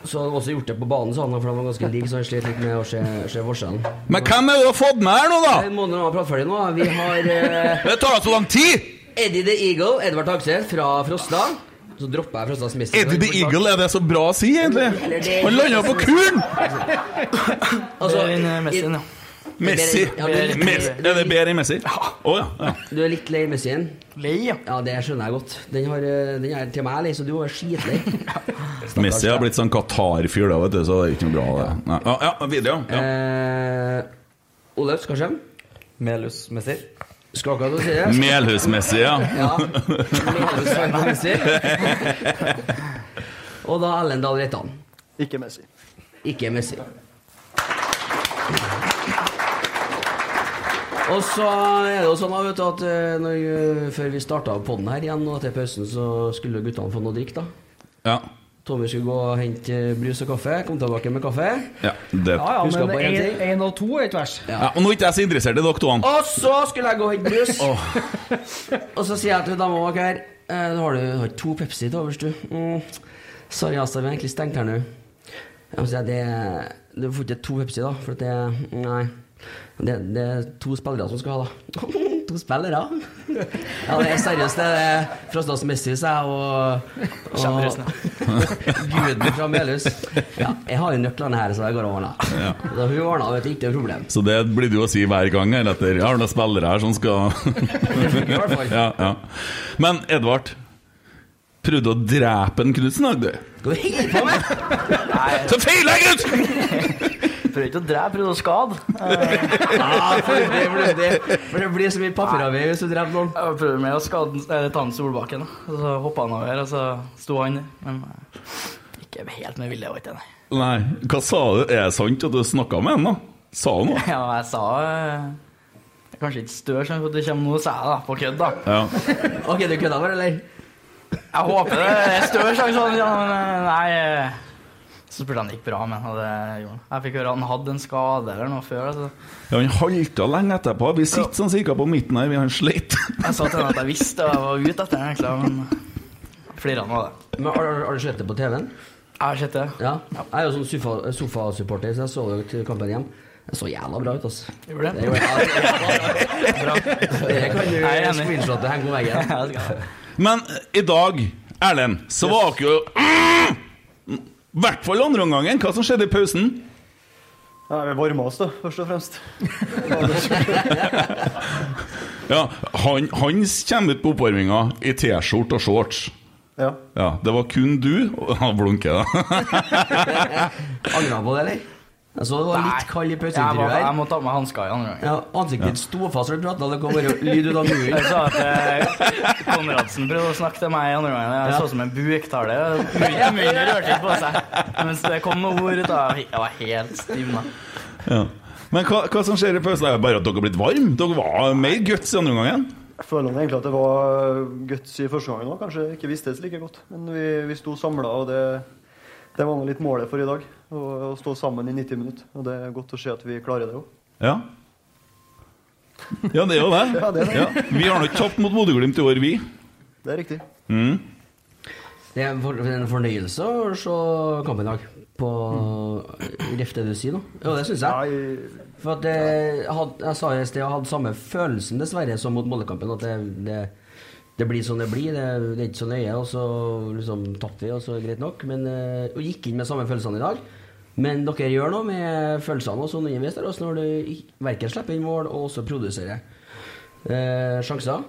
F: Så han har også gjort det på banen, sa han, for de var ganske like, så han slet litt med å se, se forskjellen.
D: Men hvem er det du har fått med her nå, da?
F: Vi må nå prate ferdig nå. Vi har eh,
D: Det tar så lang tid!
F: Eddie the Eagle, Edvard Takseth fra Frosta. Så dropper jeg Frostas Smith.
D: Eddie the Eagle, er det så bra å si, egentlig? Han landa på kuren!
F: Altså,
H: Det er en, eh, Messi,
F: i-
H: ja.
D: Messi.
F: Ja, du, er litt,
D: Messi. Er det bedre enn Messi? Å ja. ja.
F: du er litt lei Messien.
H: Lei, ja.
F: Ja, det skjønner jeg godt. Den, har, eh, den er til meg lei, så du var skitlei.
D: Messi har blitt sånn Qatar-fyr, da, vet du, så det er ikke noe bra. Det. Nei. Ja, ja, videre, ja.
F: Eh, Olaug Skarsheim.
H: Melhus Messi.
F: Skal akkurat å si det.
D: ja. Melhus-Messi, ja.
F: Eh. Ja. Melhus var Messi. Og da Ellen Dahl Reitan.
H: Ikke Messi.
F: Ikke Messi. Og så er det jo sånn da, vet du, at eh, når, eh, før vi starta podden her igjen, og til pausen, så skulle guttene få noe å drikke. da.
D: ja.
F: Tommy skulle gå og hente eh, brus og kaffe. Kom tilbake med kaffe.
D: ja det.
E: Ja, ja,
F: Husker
E: men
F: bare en ting.
E: én og to er ikke verst.
D: Ja, og nå er ikke jeg så interessert i dere to. han.
F: Og så skulle jeg gå og hente brus. og så sier jeg til dama bak her eh, «Du Har du har ikke to Pepsi til overs, du? Mm. Sorry, altså, vi har egentlig stengt her nå. Ja, men så sier jeg, det, du får ikke to Pepsi, da. For at det Nei. Det, det er to spillere som skal ha, da. to spillere? ja, det er seriøst. Det er Frostad's Messi, sa jeg, og,
H: Kjendisene.
F: Guden fra Melhus. Ja, jeg har jo nøklene her, så jeg går og ordner.
D: Ja.
F: Da hun ordna, vet du, ikke noe problem.
D: Så det blir det jo å si hver gang. Eller etter, jeg har noen spillere her som skal
F: I hvert fall.
D: ja, ja. Men Edvard, prøvde å drepe en Knutsen, da, du?
F: Hva holder du på med?
D: Så feila jeg, gutt!
H: Prøvde ikke å drepe, prøvde å skade. Eh,
F: Ja, Ah, for det blir, for det, for det blir så mye papirarbeid hvis du dreper noen.
H: Jeg prøvde med å skade eh, ta han Solbakken. da. Og Så hoppa han over, og så sto han der. Men eh, ikke helt med vilje, var ikke det. nei.
D: Nei, hva sa du? Er det sant at du snakka med han, da? Sa han noe?
H: Ja, jeg sa eh, det er Kanskje ikke stør, sånn at det kommer noe, sa jeg da, på kødd, da.
D: Ja.
F: Ok, du kødda bare, eller?
H: Jeg håper det er større sjanse, han, ja, men eh, nei eh, Så spurte han det gikk bra, men og det gjorde han. Jeg fikk høre han hadde en skade eller noe før. Altså.
D: ja, Han halta lenge etterpå. Vi sitter sånn cirka på midten her, vi har slitt.
H: Jeg sa til han at jeg visste og jeg var ute etter han, egentlig, men eh, flirte han av det.
F: Men har, har- har du sett det på TV-en?
H: Jeg har sett det.
F: Ja. Jeg er jo sånn sofa- sofasupporter, så jeg så jo til kampen hjem. Det så jævla bra ut, altså. Det
H: Gjorde det?
F: gjorde jeg.
H: Bra.
F: Det kan du
H: Jeg er enig.
F: screenshotte henge på veggen.
H: Ja, det skal jeg.
D: Men i dag, Erlend, så var dere jo I hvert fall andre omgangen. Hva som skjedde i pausen?
H: Ja, vi varma oss, da, først og fremst.
D: Ja, han, Hans kommer ut på oppvarminga i T-skjorte og shorts.
H: Ja.
D: Ja, Det var kun du Han blunker, da.
F: Angra på det, eller? Jeg så det var litt kald i
H: Jeg, må,
F: pauseintervjuet
H: jeg
F: her.
H: må ta med hansker i andre gang.
F: Ja, ansiktet ditt sto fast når du prata, det kom bare lyd ut av muren.
H: Jeg sa at eh, Konradsen prøvde å snakke til meg i andre gangen. Jeg så ut som en buktale. Munnen munnen rørte ikke på seg. Mens det kom noen ord ut av Jeg var helt stivna.
D: Ja. Men hva, hva som skjer i pausen? Det er bare at dere har blitt varme? Dere var mer guts i andre omgangen?
I: Jeg føler nok egentlig at det var guts i første gangen òg. Kanskje ikke vistes like godt. Men vi, vi sto samla, og det, det var nå litt målet for i dag. Å, å stå sammen i 90 minutter. Og det er godt å se at vi klarer det òg.
D: Ja. Ja, det er jo det.
I: Ja, det er det.
D: Ja. Vi har nå ikke tapt mot Bodø-Glimt i år, vi.
I: Det er riktig.
F: Det er en for- en fornøyelse å se kampen i dag. På Ref det du sier nå. Jo, det syns jeg.
I: Nei,
F: For at eh, jeg, had, jeg sa i sted jeg hadde samme følelsen dessverre som mot Moldekampen. At det, det, det blir som det blir. Det, det er ikke så nøye. Og så liksom tapte vi, og så er det greit nok. Men, eh, og gikk inn med samme følelsene i dag. Men dere gjør noe med følelsene også underveis der, også når du ik- verken slipper inn mål og også produserer eh, sjanser.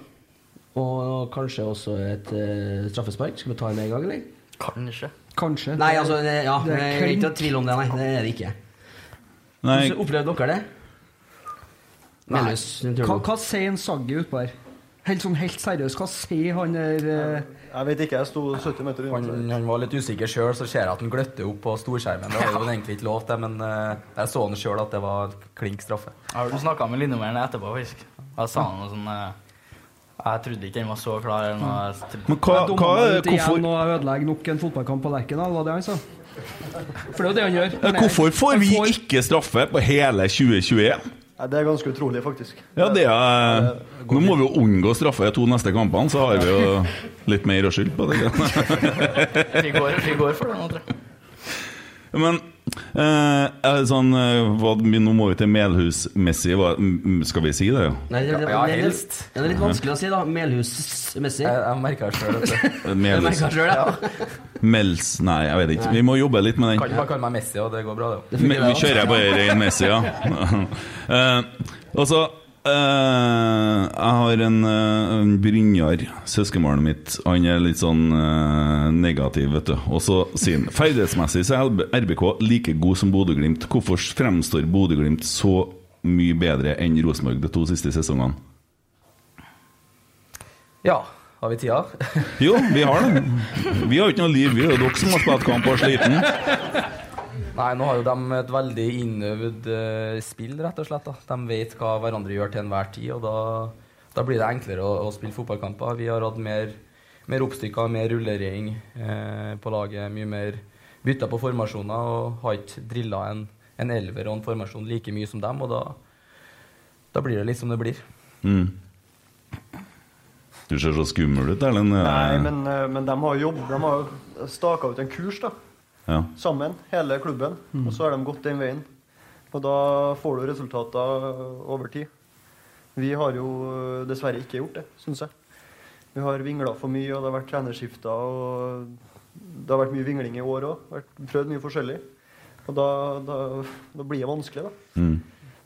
F: Og kanskje også et eh, straffespark. Skal vi ta det med en gang, eller?
H: Kanskje.
E: Kanskje.
F: Nei, altså det, ja,
E: Det
F: det
E: er
F: er ikke noe tvil om det. Nei, det er det ikke.
D: Nei,
F: Hvordan opplevde dere det? Melhus, den turen.
E: Hva, hva sier en Saggi utpå her? Helt sånn helt seriøst, hva sier han der eh,
I: jeg vet ikke. Jeg sto 70 meter
J: Han,
I: unna.
J: han var litt usikker sjøl, så ser jeg at han gløtter opp på storskjermen. Det var jo egentlig ikke lov til, men eh, jeg så han sjøl at det var klink straffe.
H: Jeg har snakka med Lindemann etterpå, faktisk. Da sa han noe sånn eh, Jeg trodde ikke den var så klar. Eller noe. Jeg trodde-
D: men hva, hva
E: Dommer ut
D: hvorfor,
E: igjen og ødelegger nok en fotballkamp på Lerkendal, var det han sa? For det er jo det han gjør.
D: ja, hvorfor får vi
E: Han
D: ikke straffe på hele 2021?
I: Nei, det er ganske utrolig, faktisk.
D: Ja, det er Nå må vi jo unngå straffe de to neste kampene, så har vi jo litt mer å skylde på. Det.
H: Vi går, vi går for det nå, tror jeg.
D: Men Eh, eh, sånn, eh, hva, nå må vi til Melhus-messig, hva- m- m- skal vi si det? jo?
F: Nei, det, det,
J: Ja,
F: det- det-
J: helst.
F: Det er litt vanskelig å si, da. Melhusmessig.
J: Jeg, jeg merka det sjøl.
D: Melhus.
F: Merker selv, ja.
D: Mels Nei, jeg vet ikke. Vi må jobbe litt med den.
J: Kan ikke bare kalle meg Messi, og det går bra, det.
D: Men vi kjører bare ren Messi, ja. Eh, og så eh, Jeg har en, eh, en Brynjar, søskenbarnet mitt. Han er litt sånn eh, negativ, vet du. Og så sier han ferdighetsmessig så er LB RBK like god som Bodø-Glimt. Hvorfor fremstår Bodø-Glimt så mye bedre enn Rosenborg de to siste sesongene?
J: Ja. Har vi tida?
D: Jo, vi har det. Vi har jo ikke noe liv, vi. Det er jo dere som har spilt kamp og er sliten.
J: Nei, nå har jo de et veldig innøvd eh, spill, rett og slett. da. De vet hva hverandre gjør til enhver tid, og da, da blir det enklere å, å spille fotballkamper. Vi har hatt mer, mer oppstykker, mer rullering eh, på laget, mye mer bytta på formasjoner, og har ikke drilla en, en elver og en formasjon like mye som dem, og da, da blir det litt som det blir.
D: Mm. Du ser så skummel ut, Erlend.
I: Nei, men, eh, men de har jobb. De har jo staka ut en kurs, da.
D: ja.
I: Sammen, hele klubben. Og så har de gått den veien. Og da får du resultater over tid. Vi har jo eh, dessverre ikke gjort det, syns jeg. Vi har vingla for mye, og det har vært trenerskifter. Og det har vært mye vingling i år òg. Prøvd mye forskjellig. Og da, da, da blir det vanskelig, da.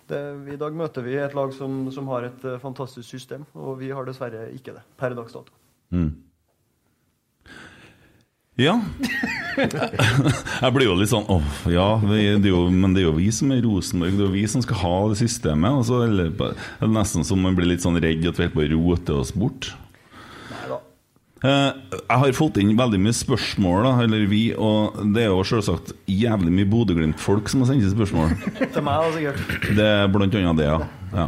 I: Det, I dag møter vi et lag som, som har et eh, fantastisk system, og vi har dessverre ikke det per dags dato.
D: Ja. Jeg blir jo litt sånn åh, ja, vi- det er jo, men det er jo vi som er Rosenborg, det er jo vi som skal ha det systemet. Og så er det er det nesten som man blir litt sånn redd at vi holder på å rote oss bort. Eh, Jeg har fått inn veldig mye spørsmål, da, eller vi, og det er jo selvsagt jævlig mye Bodø-Glimt-folk som har sendt inn spørsmål.
I: Til meg, da, sikkert.
D: Det er blant annet det, ja. ja.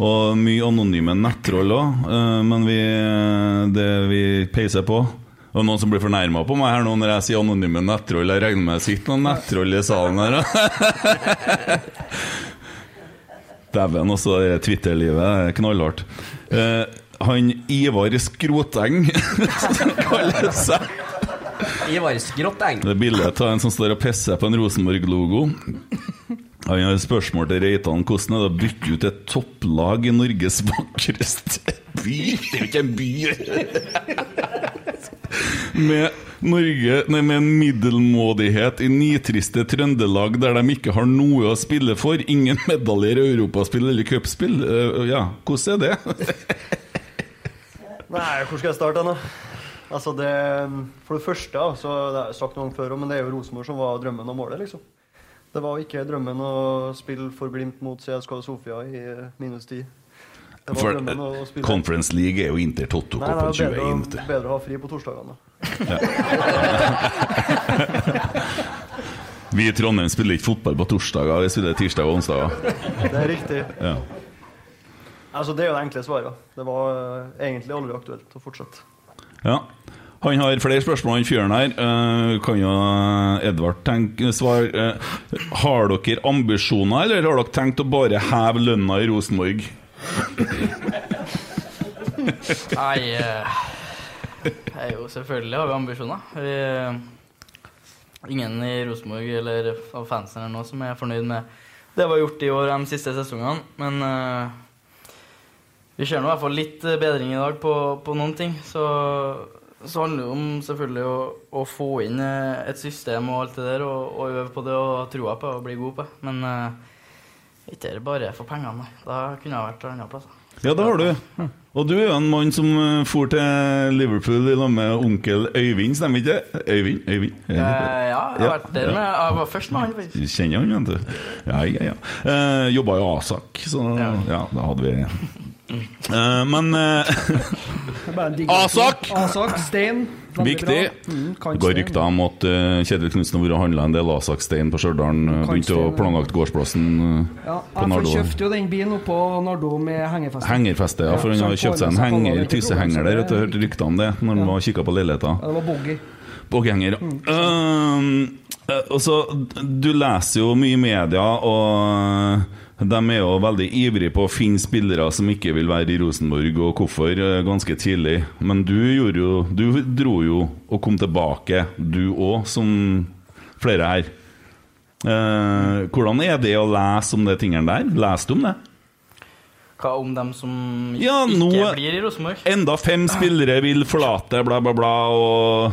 D: Og mye anonyme nettroll òg, men vi, eh, det vi peiser på Og noen som blir fornærma på meg her nå når jeg sier anonyme nettroll. Jeg regner med det sitter noen nettroll i salen her. da. Dæven, også det Twitter-livet er knallhardt. Eh, han Ivar Skroteng, som kaller seg
F: Ivar Skrotteng.
D: det er bildet av en som står og pisser på en Rosenborg-logo. Han har et spørsmål til Reitan. Hvordan er det å bytte ut et topplag i Norges vakreste by? Det er jo ikke en by! Med, Norge, nei, med en middelmådighet i nitriste Trøndelag der de ikke har noe å spille for. Ingen medaljer i europaspill eller cupspill. Eh, ja, hvordan er det?
I: Nei, hvor skal jeg starte nå? Altså det, for det første, da, så det har jeg sagt noen før, også, men det er jo Rosenborg som var drømmen og målet. liksom. Det var ikke drømmen å spille for Glimt mot CSKA Sofia i eh, minus 10. Det var
D: For,
I: drømmen å
D: eh,
I: spille
D: Conference League er jo Inter Totto
I: Nei,
D: Cupen
I: det er bedre,
D: 21. vet du.
I: å- bedre å ha fri på torsdagene. da.
D: Vi i Trondheim spiller ikke fotball på torsdager, vi spiller tirsdag og onsdager.
I: Det er riktig.
D: Ja.
I: Altså Det er jo det enkle svaret. Det var eh, egentlig aldri aktuelt å fortsette.
D: Ja. Han har flere spørsmål, han fyren her. Eh, kan jo eh, Edvard tenke svar eh, Har dere ambisjoner, eller har dere tenkt å bare heve lønna i Rosenborg?
H: Nei eh, det er jo Selvfølgelig har vi ambisjoner. Vi, ingen i Rosenborg eller av fansen eller noe som er fornøyd med det vi har gjort i år de siste sesongene, men eh, vi ser nå i hvert fall litt eh, bedring i dag på, på noen ting. Så, så handler det om selvfølgelig å, å få inn eh, et system og alt det der, og, og øve på det og ha trua på det og bli god på det. Men eh, ikke er det bare for pengene, nei. Da kunne jeg vært andre plasser.
D: Ja, det har du. Og du er jo en mann som eh, for til Liverpool i lag med onkel Øyvind, stemmer ikke det? Øyvind? Øyvind?
H: Eh,
D: Øyvind.
H: ja, jeg har vært der med Jeg var først med han, faktisk.
D: Du Kjenner han, vet du. Ja, ja, ja. Eh, Jobba jo Asak, så ja.
H: Ja.
D: da hadde vi Eh, Men eh, Asak!
E: Asak, stein. veldig
D: Viktig.
E: bra. Mm,
D: Det
E: kantstein.
D: går rykter om at eh, Kjetil Knutsen har vært og handla en del Asak-stein på Stjørdal. eh, Begynte å
E: Kantstein, ja.
D: planlagt gårdsplassen eh,
E: Ja,
D: på
E: jeg
D: Nardo.
E: kjøpte jo den bilen oppå Nardo med hengefeste.
D: Hengerfeste, ja, for
E: Ja,
D: han har
E: så han
D: kjøpt seg en
E: får med seg
D: henger,
E: på-
D: tysehenger der. vet Du hørte rykter om det når han var og kikka på leiligheter.
E: Ja, det var boggy.
D: Boghenger. Eh, eh, og så, du leser jo mye i media, og de er jo veldig ivrige på å finne spillere som ikke vil være i Rosenborg, og hvorfor, eh, ganske tidlig. Men du gjorde jo Du dro jo og kom tilbake, du òg, som flere her. Eh, hvordan er det å lese om de tingene der? Leste du om det?
H: Hva om dem som
D: Ja,
H: ikke
D: nå-
H: blir i Rosenborg?
D: Enda fem spillere vil forlate, bla, bla, bla, og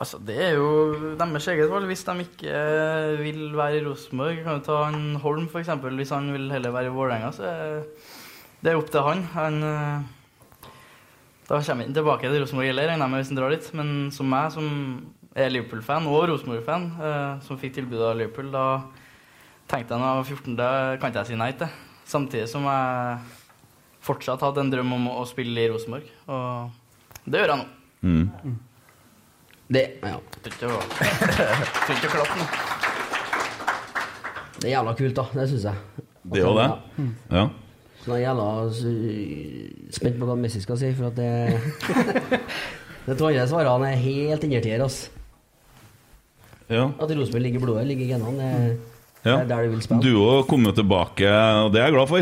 H: Altså, det er jo deres eget valg. Hvis de ikke eh, vil være i Rosenborg, kan du ta han Holm f.eks. Hvis han vil heller være i Vålerenga, så er det er opp til han. han eh, da kommer han tilbake til Rosenborg heller, regner jeg med, hvis han drar dit. Men som meg, som er Liverpool-fan og Rosenborg-fan, eh, som fikk tilbud av Liverpool, da tenkte jeg når jeg var 14, da kan ikke jeg si nei til. Samtidig som jeg fortsatt hadde en drøm om å å spille i Rosenborg. Og det gjør jeg nå.
D: Mm,
F: Det, ja,
H: Trenger ikke å- trenger ikke å klappe nå.
F: det er jævla kult, da. Det syns jeg.
D: Det er jo det. Ja.
F: Så da er jeg jævla s- spent på hva Messi skal si, for at det Det to andre svarene er helt innertier, ass.
D: ja.
F: At Rosenborg ligger i blodet, ligger i genene. Det,
D: ja.
F: det er der du vil spille.
D: Duo kom jo tilbake, og det er jeg glad for.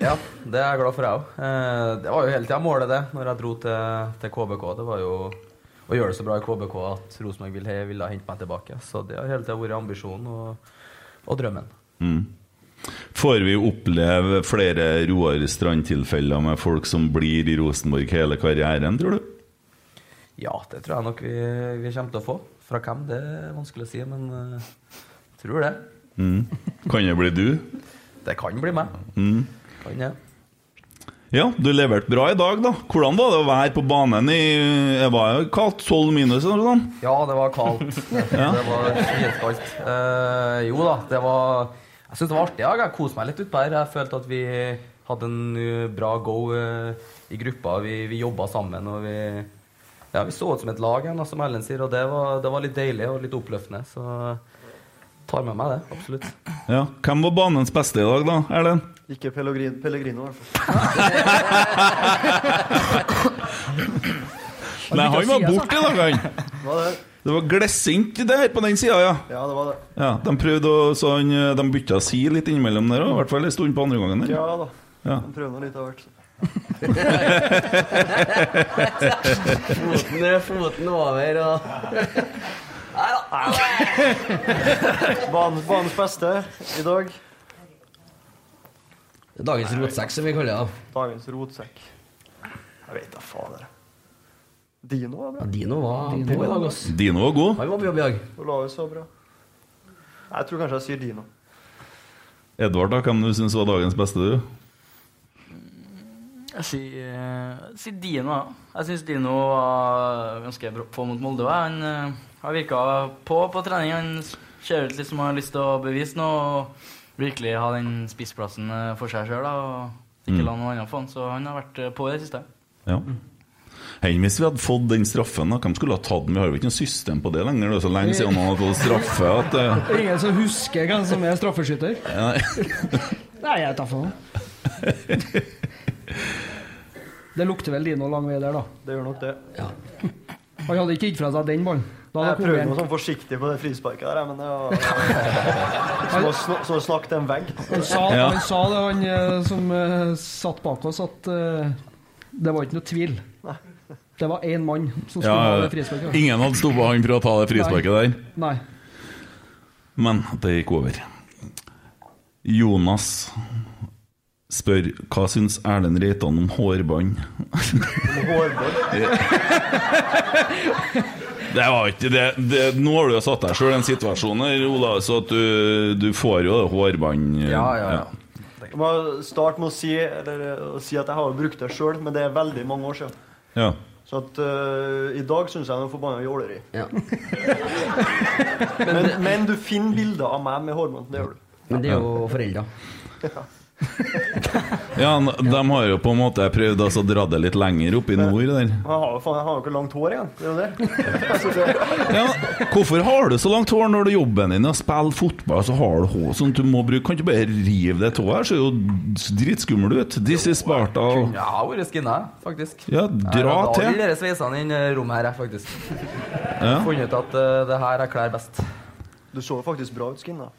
J: Ja, det er jeg glad for, jeg òg. Eh, det var jo hele tida målet, det, når jeg dro til, til KBK. Det var jo å gjøre det så bra i KBK at Rosenborg ville, ville hente meg tilbake. Så det har hele tida vært ambisjonen og, og drømmen.
D: Mm. Får vi oppleve flere Roar Strand-tilfeller med folk som blir i Rosenborg hele karrieren, tror du?
J: Ja, det tror jeg nok vi, vi kommer til å få. Fra hvem, det er vanskelig å si, men eh, tror det.
D: Kan det bli du?
J: Det kan bli meg. Kan det.
D: Ja, du leverte bra i dag, da. Hvordan var det å være på banen i Det var jo kaldt, 12 minus eller noe sånt?
J: Ja, det var kaldt. Det var skitkaldt. Eh, jo da, det var Jeg syns det var artig. ja. Jeg koste meg litt utpå her. Jeg følte at vi hadde en eh, bra go eh, i gruppa. Vi, vi jobba sammen, og vi Ja, vi så ut som et lag, igjen, da, som Erlend sier, og det var, det var litt deilig og litt oppløftende. Så tar med meg det, absolutt.
D: Ja. Hvem var banens beste i dag, da, Erlend?
I: Ikke Pellegrin, Pellegrino, i hvert fall.
D: Nei, han var borte i dag, han.
I: Hva er det?
D: Det var glissent der på den sida, ja.
I: Ja, det var det.
D: ja. De prøvde å så han, eh, De bytta si litt innimellom der òg, i hvert fall en stund på andre gangen. der.
I: Ja da.
D: Ja.
I: Han prøver nå litt av hvert.
F: Foten, foten over og
I: Banen, banens beste i dag.
F: Dagens rotsekk, som vi kaller det.
I: Dagens rotsekk. Jeg vet da fader. Dino var bra.
F: Ja, Dino var på i dag, ass.
D: Dino var god.
F: Han var på jobb i dag.
I: Olaus var bra. Jeg tror kanskje jeg sier Dino.
D: Edvard, da, hvem du syns var dagens beste, du?
H: Jeg sier, jeg sier Dino. ja. Jeg syns Dino var ganske bra på mot Molde. ja. Han, eh, han virka på på trening. Han ser ut litt som han har lyst til å bevise noe og virkelig ha den spissplassen eh, for seg sjøl.
J: Mm.
H: Ikke la noen andre få han. Så han har vært eh, på i det siste.
D: Ja.
I: Mm.
D: Enn hvis vi hadde fått den straffen, da? Hvem skulle ha tatt den? Vi har jo ikke noe system på det lenger. Det er jo så lenge siden han har fått straffe at eh,
E: Ingen som husker hvem som er straffeskytter? Nei, jeg tar for noe. Det lukter vel Dino lang vei der, da.
I: Det gjør nok det.
E: Han hadde ikke gitt fra seg den ballen. Da
I: Jeg
E: hadde
I: prøvde
E: kommet
I: noe
E: en-
I: sånn forsiktig på det frisparket der, jeg, men det var Som å sn- Som å snakke til en vegg.
E: han sa,
D: Ja.
E: han sa det, han eh, som eh, satt bak oss, at eh, det var ikke noe tvil. Det var én mann som skulle ha
D: ja,
E: det frisparket.
D: Ingen hadde stoppa han for å ta det frisparket der.
E: Nei.
D: Men det gikk over. Jonas spør hva syns Erlend Reitan om hårbånd.
I: Hårbånd.
D: Det var ikke det, det Nå har du jo satt deg sjøl i en situasjon her, Ola, så at du, du får jo det hårbånd
J: Ja, ja, ja.
I: Jeg må starte med å si, eller, eh, å si at jeg har jo brukt det sjøl, men det er veldig mange år siden.
D: ja.
I: Så at eh, i dag syns jeg han er forbanna jåleri.
F: Ja.
I: Men, men du finner bilder av meg med hårbånd. Det gjør du.
F: Men det er jo foreldra.
D: Ja, n- De har jo på en måte prøvd altså, å dra det litt lenger opp i nord. der
I: Han har jo faen, jeg har jo ikke langt hår engang. Det er jo det. Altså, det.
D: ja, Hvorfor har du så langt hår når du jobben din er å spille fotball? Så har du hår sånn at du må bruke Kan du ikke bare rive det tåa her, så er jo dritskummel ut. This is Sparta. og-
J: Ja, jeg har vært skinna, jeg, faktisk.
D: Ja, dra
J: Jeg har
D: til.
J: alle de sveisene inn i rommet her, jeg, faktisk. Jeg har funnet ut at eh, det her jeg kler best.
I: Du så jo faktisk bra ut skinna.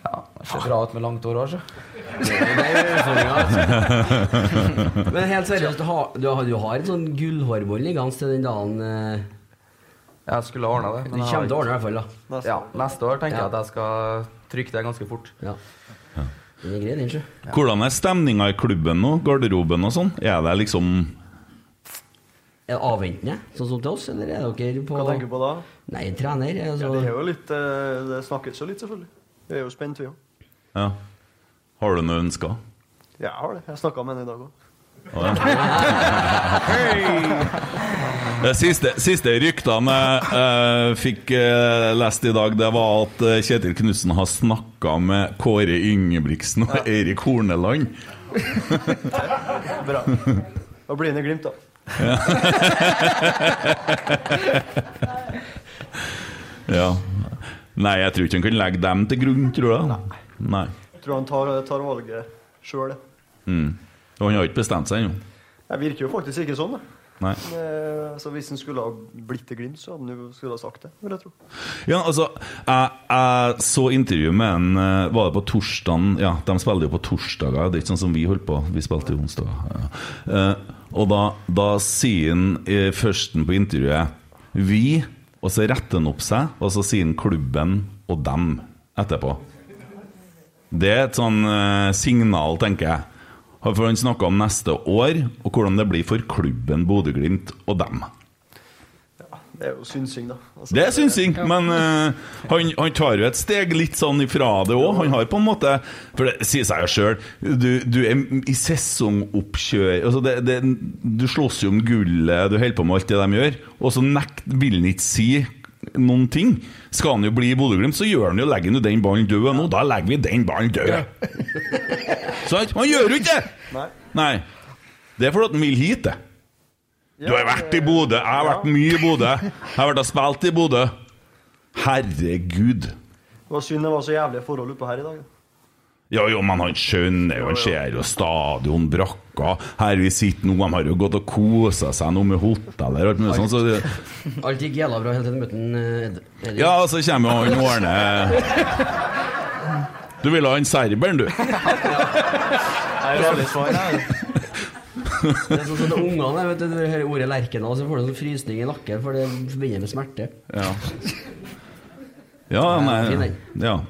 J: Ja, det ser bra ut med langt hår òg, sjø.
F: sånn Men helt seriøst, du har, du har, du har et sånn gullhårbånd liggende til den dagen eh,
J: Jeg skulle ha ordna det.
F: Du
J: Men jeg
F: kommer
J: har
F: til å ordne det i hvert fall, da.
J: ikke- ja, neste år tenker jeg
F: Ja.
J: at jeg skal trykke det ganske fort.
F: Ja. Den er grei, den, sjø.
D: Hvordan er stemninga i klubben nå? Garderoben og sånn? Er det liksom
F: Er det avventende, sånn som til oss, eller er dere på
I: Hva tenker du på da?
F: Nei, trener.
I: Ja,
F: Altså,
I: det er jo litt eh, Det snakkes jo litt, selvfølgelig. Vi er jo spent, vi òg.
D: Ja. Har du noe ønsker?
I: Jeg har det. Jeg snakka med henne i dag òg.
D: Det siste, siste ryktene jeg fikk eh, lest i dag, det var at eh, Kjetil Knutsen har snakka med Kåre Ingebrigtsen og Eirik Horneland.
I: Bra. Da blir han i Glimt, da.
D: Ja. Nei, jeg tror ikke han kan legge dem til grunn, tror jeg. Nei.
I: Tror han tar, tar valget sjøl, det.
D: Mm. Og han har ikke bestemt seg ennå.
I: Jeg virker jo faktisk ikke sånn, da.
D: Nei.
I: Men, eh, altså, hvis han skulle ha blitt til Glimt, så hadde han jo skulle ha sagt det, vil jeg tro.
D: Ja, altså, jeg, jeg så intervju med en eh, Var det på torsdagen? Ja, de spiller jo på torsdager. Det er ikke sånn som vi holdt på. Vi spilte jo onsdager. Ja. Eh, og da, da sier han eh, førsten på intervjuet 'vi', og så retter han opp seg, og så sier han 'klubben' og 'dem' etterpå. Det er et sånn eh, signal, tenker jeg. For han snakka om neste år, og hvordan det blir for klubben Bodø-Glimt og dem.
I: Det er jo synsing, da. Altså,
D: Det er synsing, men eh, han, han tar jo et steg litt sånn ifra det òg. Han har på en måte For det sier seg jo sjøl, du, du er i sesongoppkjør altså det, det, Du slåss jo om gullet, du holder på med alt det de gjør, og så nekt, vil han ikke si noen ting. Skal han jo bli i Bodø-Glimt, så gjør han jo, legger han jo den ballen død. Og nå, da legger vi den ballen død! Sant? Han gjør jo ikke det!
I: Nei.
D: Nei. Det er fordi at han vil hit, det. Du har vært i Bodø. Jeg har vært mye i Bodø. Jeg har vært og spilt i Bodø. Herregud.
I: Det var synd det var så jævlige forhold oppå her i dag. Da.
D: Ja, jo, men han skjønner jo, han ser jo stadion, brakka Her vi sitter nå, de har jo gått og kosa seg nå med hoteller og alt mulig sånt. Så det,
F: alt gikk jævla bra helt til du møtte en, eh, Ed- Edvin.
D: ja, så kommer jo han Årne Du ville ha han serberen, du.
F: Det er sånn som de ungene vet du, når du hører ordet Lerkendal, så får du en sånn frysning i nakken, for det forbinder med smerte.
D: Ja. Ja, nei, ja.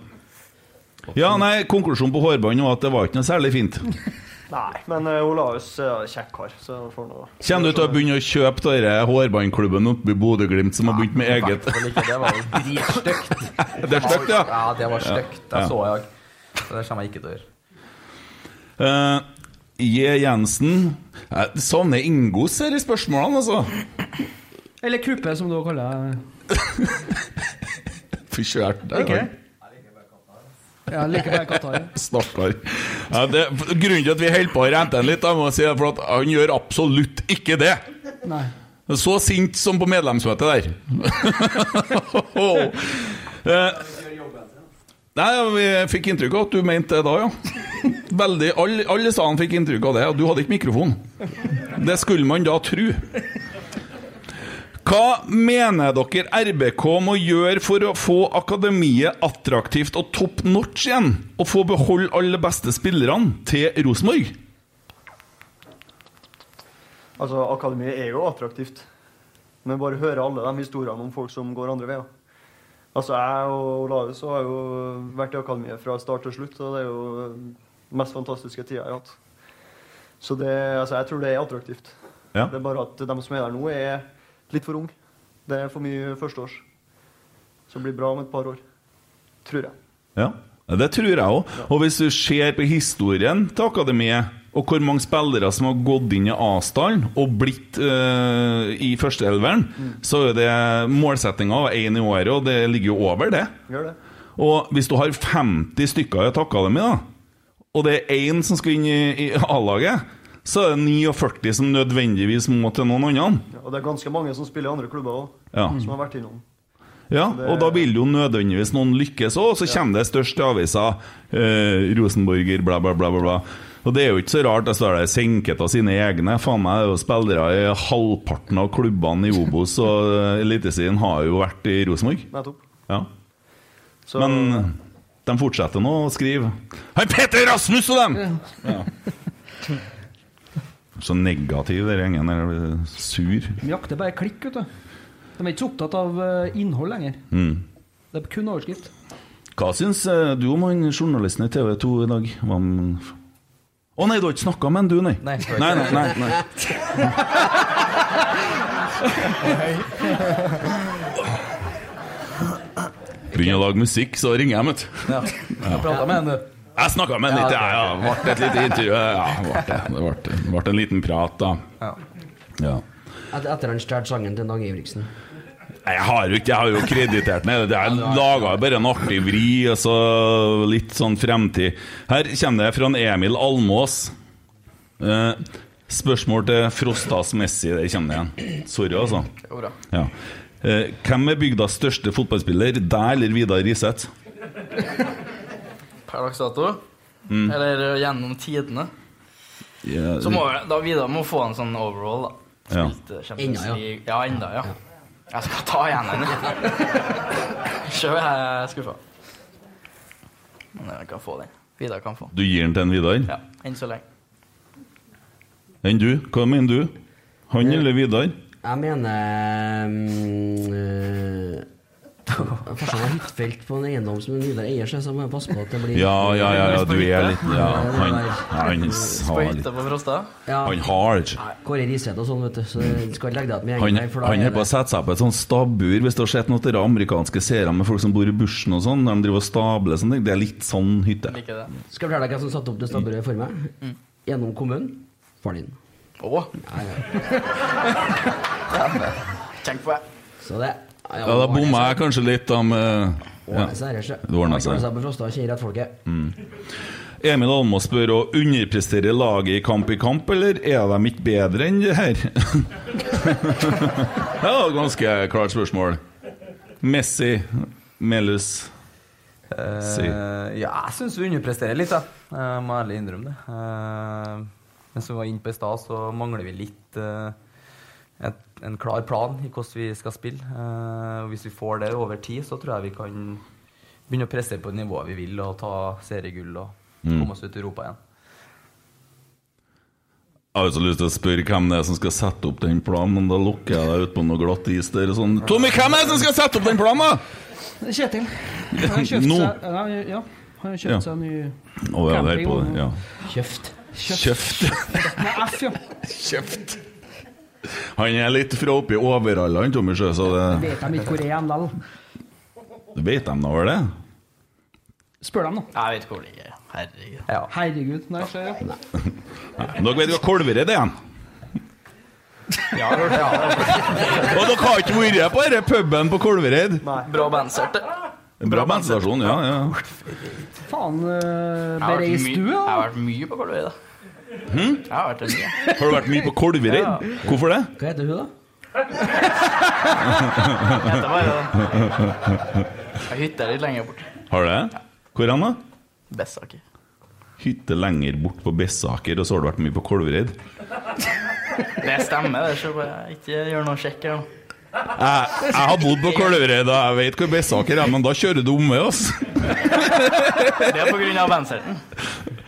D: ja, nei, konklusjonen på hårbånd var at det var ikke noe særlig fint.
I: Nei, men eh, Olaus er kjekk kar, så han får nå
D: Kommer du til å begynne å kjøpe denne hårbåndklubben oppe i Bodø-Glimt som har begynt med
J: I
D: eget?
J: hvert fall ikke. Det var jo dritstygt.
D: Det er stygt, ja.
J: Ja, det var stygt.
D: Ja.
J: Jeg så jeg. Så det kommer jeg ikke til å gjøre.
D: Eh, J. Jensen Jeg savner Ingos her i spørsmålene, altså.
E: Eller kuppe, som du kaller det.
D: Fy kjært.
E: Ikke det? Ja, liker bare Qatar. ja.
D: Stakkar. Ja, det- grunnen til at vi holder på å rente han litt, jeg må si, er for at han gjør absolutt ikke det.
E: Nei.
D: Så sint som på medlemsmøtet der. Eh, Nei, ja, vi fikk inntrykk av at du mente det da, ja. Veldig, Alle alle i salen fikk inntrykk av det, og du hadde ikke mikrofon. Det skulle man da tru. Hva mener dere RBK må gjøre for å få akademiet attraktivt og top notch igjen? Og få beholde alle de beste spillerne til Rosenborg?
I: Altså, akademiet er jo attraktivt. Men bare høre alle de historiene om folk som går andre veier. Altså, jeg og Olaus har jo vært i akademiet fra start til slutt, og det er jo den mest fantastiske tida jeg har hatt. Så det, altså, jeg tror det er attraktivt.
D: Ja.
I: Det er bare at de som er der nå, er litt for unge. Det er for mye førsteårs. Så det blir bra om et par år. Tror jeg.
D: Ja, det tror jeg òg. Og hvis du ser på historien til akademiet, og hvor mange spillere som har gått inn i avstanden og blitt eh, i førsteelveren, så er det målsettinga én i året, og det ligger jo over det.
I: Gjør det.
D: Og hvis du har 50 stykker i et akademi, da, og det er én som skal inn i, i A-laget, så er det 49 som nødvendigvis må til noen andre.
I: Ja, og det er ganske mange som spiller i andre klubber òg,
D: Ja.
I: som har vært innom.
D: Ja, og da vil jo nødvendigvis noen lykkes òg, og så kommer det største avisa eh, Rosenborger, bla, bla, bla, bla, bla. Og det er jo ikke så rart. Det står der senket av sine egne. Faen meg, det er jo spillere i halvparten av klubbene i Obos, og eh, Eliteserien har jo vært i Rosenborg.
I: Nettopp.
D: Ja.
I: Så
D: Men de fortsetter nå å skrive Han Peter Rasmus og dem! Ja. Så negativ den gjengen der. jeg blir Sur.
E: De jakter bare klikk, vet du. De er ikke så opptatt av eh, innhold lenger.
D: Mm.
E: Det er kun overskrift.
D: Hva syns eh, du om han journalisten i TV 2 i dag? Hva om- Å nei, du har ikke snakka med han, du, nei?
J: Nei, jeg har ikke.
D: nei, nei, nei, nei. Begynner å lage musikk, så ringer jeg, vet du.
J: Ja. Jeg prata med henne.
D: Jeg snakka med han litt,
J: Ja,
D: ja. ja. Ble et lite intervju. Ja, ble det. Det ble, det ble en liten prat, da.
J: Ja.
D: Ja.
F: Et, etter han stjal sangen til Dag Ivriksen.
D: Nei, Jeg har jo ikke, jeg har jo kreditert den. Jeg laga bare en artig vri, og så litt sånn fremtid. Her kommer det fra en Emil Almås. Eh, spørsmål til Frostas Messi, det kjenner jeg igjen. Sorry, altså.
H: Jo, bra.
D: Ja. Eh, hvem er bygdas største fotballspiller, deg eller Vidar Riseth?
H: Per dags dato. Eller eh, gjennom tidene.
D: Mm. Ja,
H: Så må jeg, da Vidar må få en sånn overall, da.
D: Ja.
H: Spilte Champions
F: Enda, ja.
H: League. Ja, enda, ja. Jeg skal ta igjen den. Sjøl er jeg skuffa. Men jeg kan få den. Vidar kan få.
D: Du gir den til en Vidar?
H: Ja, enn så lenge.
D: Enn du? Hva mener du? Han eller Vidar?
F: Jeg mener mm, øh, Farsan har hyttefelt på en eiendom som Vidar eier, så jeg må jeg passe på at det blir
D: Ja, ja, ja, ja du er litt ja, Han, han,
H: På
D: har litt
H: hytta på Frosta.
F: Ja,
D: Han har det.
F: Kåre Riseth og sånn, vet du. Så du skal ikke legge deg at med gjengen
D: Han,
F: der, for da
D: han
F: er
D: er på å
F: det-
D: sette seg på et sånt stabbur hvis du har sett noen av dere amerikanske seere med folk som bor i bushen og sånn, der de driver og stabler sånn. Det er litt sånn hytte.
H: Liker det.
F: Skal jeg fortelle deg hvem som satte opp det stabburet for meg? Gjennom kommunen. Faren din.
H: Mm. Å! Tenk på det.
F: Så det
D: Ja, da bomma jeg kanskje litt, da med ja.
F: Ordna seg, Resje.
D: Det ordner seg. Mm.
F: på Frosta og kjører rett folket.
D: Emil Almås spør å underprestere laget i kamp i kamp, eller er de ikke bedre enn det her? det var et ganske klart spørsmål. Messi, Melus
J: Eh,
D: Si.
J: ja, jeg syns vi underpresterer litt, jeg. Jeg må ærlig innrømme det. Eh, men som vi var inne på i stad, så mangler vi litt eh, et, en klar plan i hvordan vi skal spille. Eh, og hvis vi får det over tid, så tror jeg vi kan begynne å presse på det nivået vi vil, og ta seriegull og komme oss ut i Europa igjen.
D: Jeg har så lyst til å spørre hvem det er som skal sette opp den planen, men da lukker jeg deg ut på noe glatt is der og sånn. Tommy, hvem er det som skal sette opp den planen, da?
E: Kjetil. Han har kjøpt
D: Nå.
E: seg, ja, ja, han har kjøpt
D: Ja.
E: seg en ny
D: Å, ja, det er på det. Ja.
F: Kjøft.
D: Kjøft.
E: Nei, F, ja.
D: Kjøft. Han er litt fra oppi overalla, han Tommy Sjø, så det
E: Vet de ikke hvor jeg er likevel.
D: Vet de nå vel det?
E: Spør dem, da.
H: Jeg vet ikke hvor det ligger. Herregud.
J: Ja.
E: Herregud. Nei, se, ja.
D: Men Dere vet hva kolveret er? igjen.
J: Ja, ja.
D: Og dere har ikke vært på denne puben på Kolvereid?
H: Bra bandserte.
D: Bra bandstasjon, ja. ja.
E: Faen, uh,
H: Jeg har vært
E: bereist
H: mye-
E: du,
H: jeg
E: ja?
H: har vært mye på Kolvereid, da. Jeg har vært det mye.
D: Har du vært mye på Kolvereid? Hvorfor det?
F: Hva heter hun, da?
H: Det var jo Jeg hytta litt lenger bort.
D: Har du det? Hvor hen, da?
H: Bessaker.
D: Hytte lenger bort på Bessaker, og så har du vært mye på Kolvereid?
H: Det stemmer, det. Så bare ikke gjør noe sjekk her nå.
D: Jeg, jeg har bodd på Kolvereid, og jeg vet hvor Bessaker er, men da kjører du omvei, ass.
H: Det er på grunn av bandserten.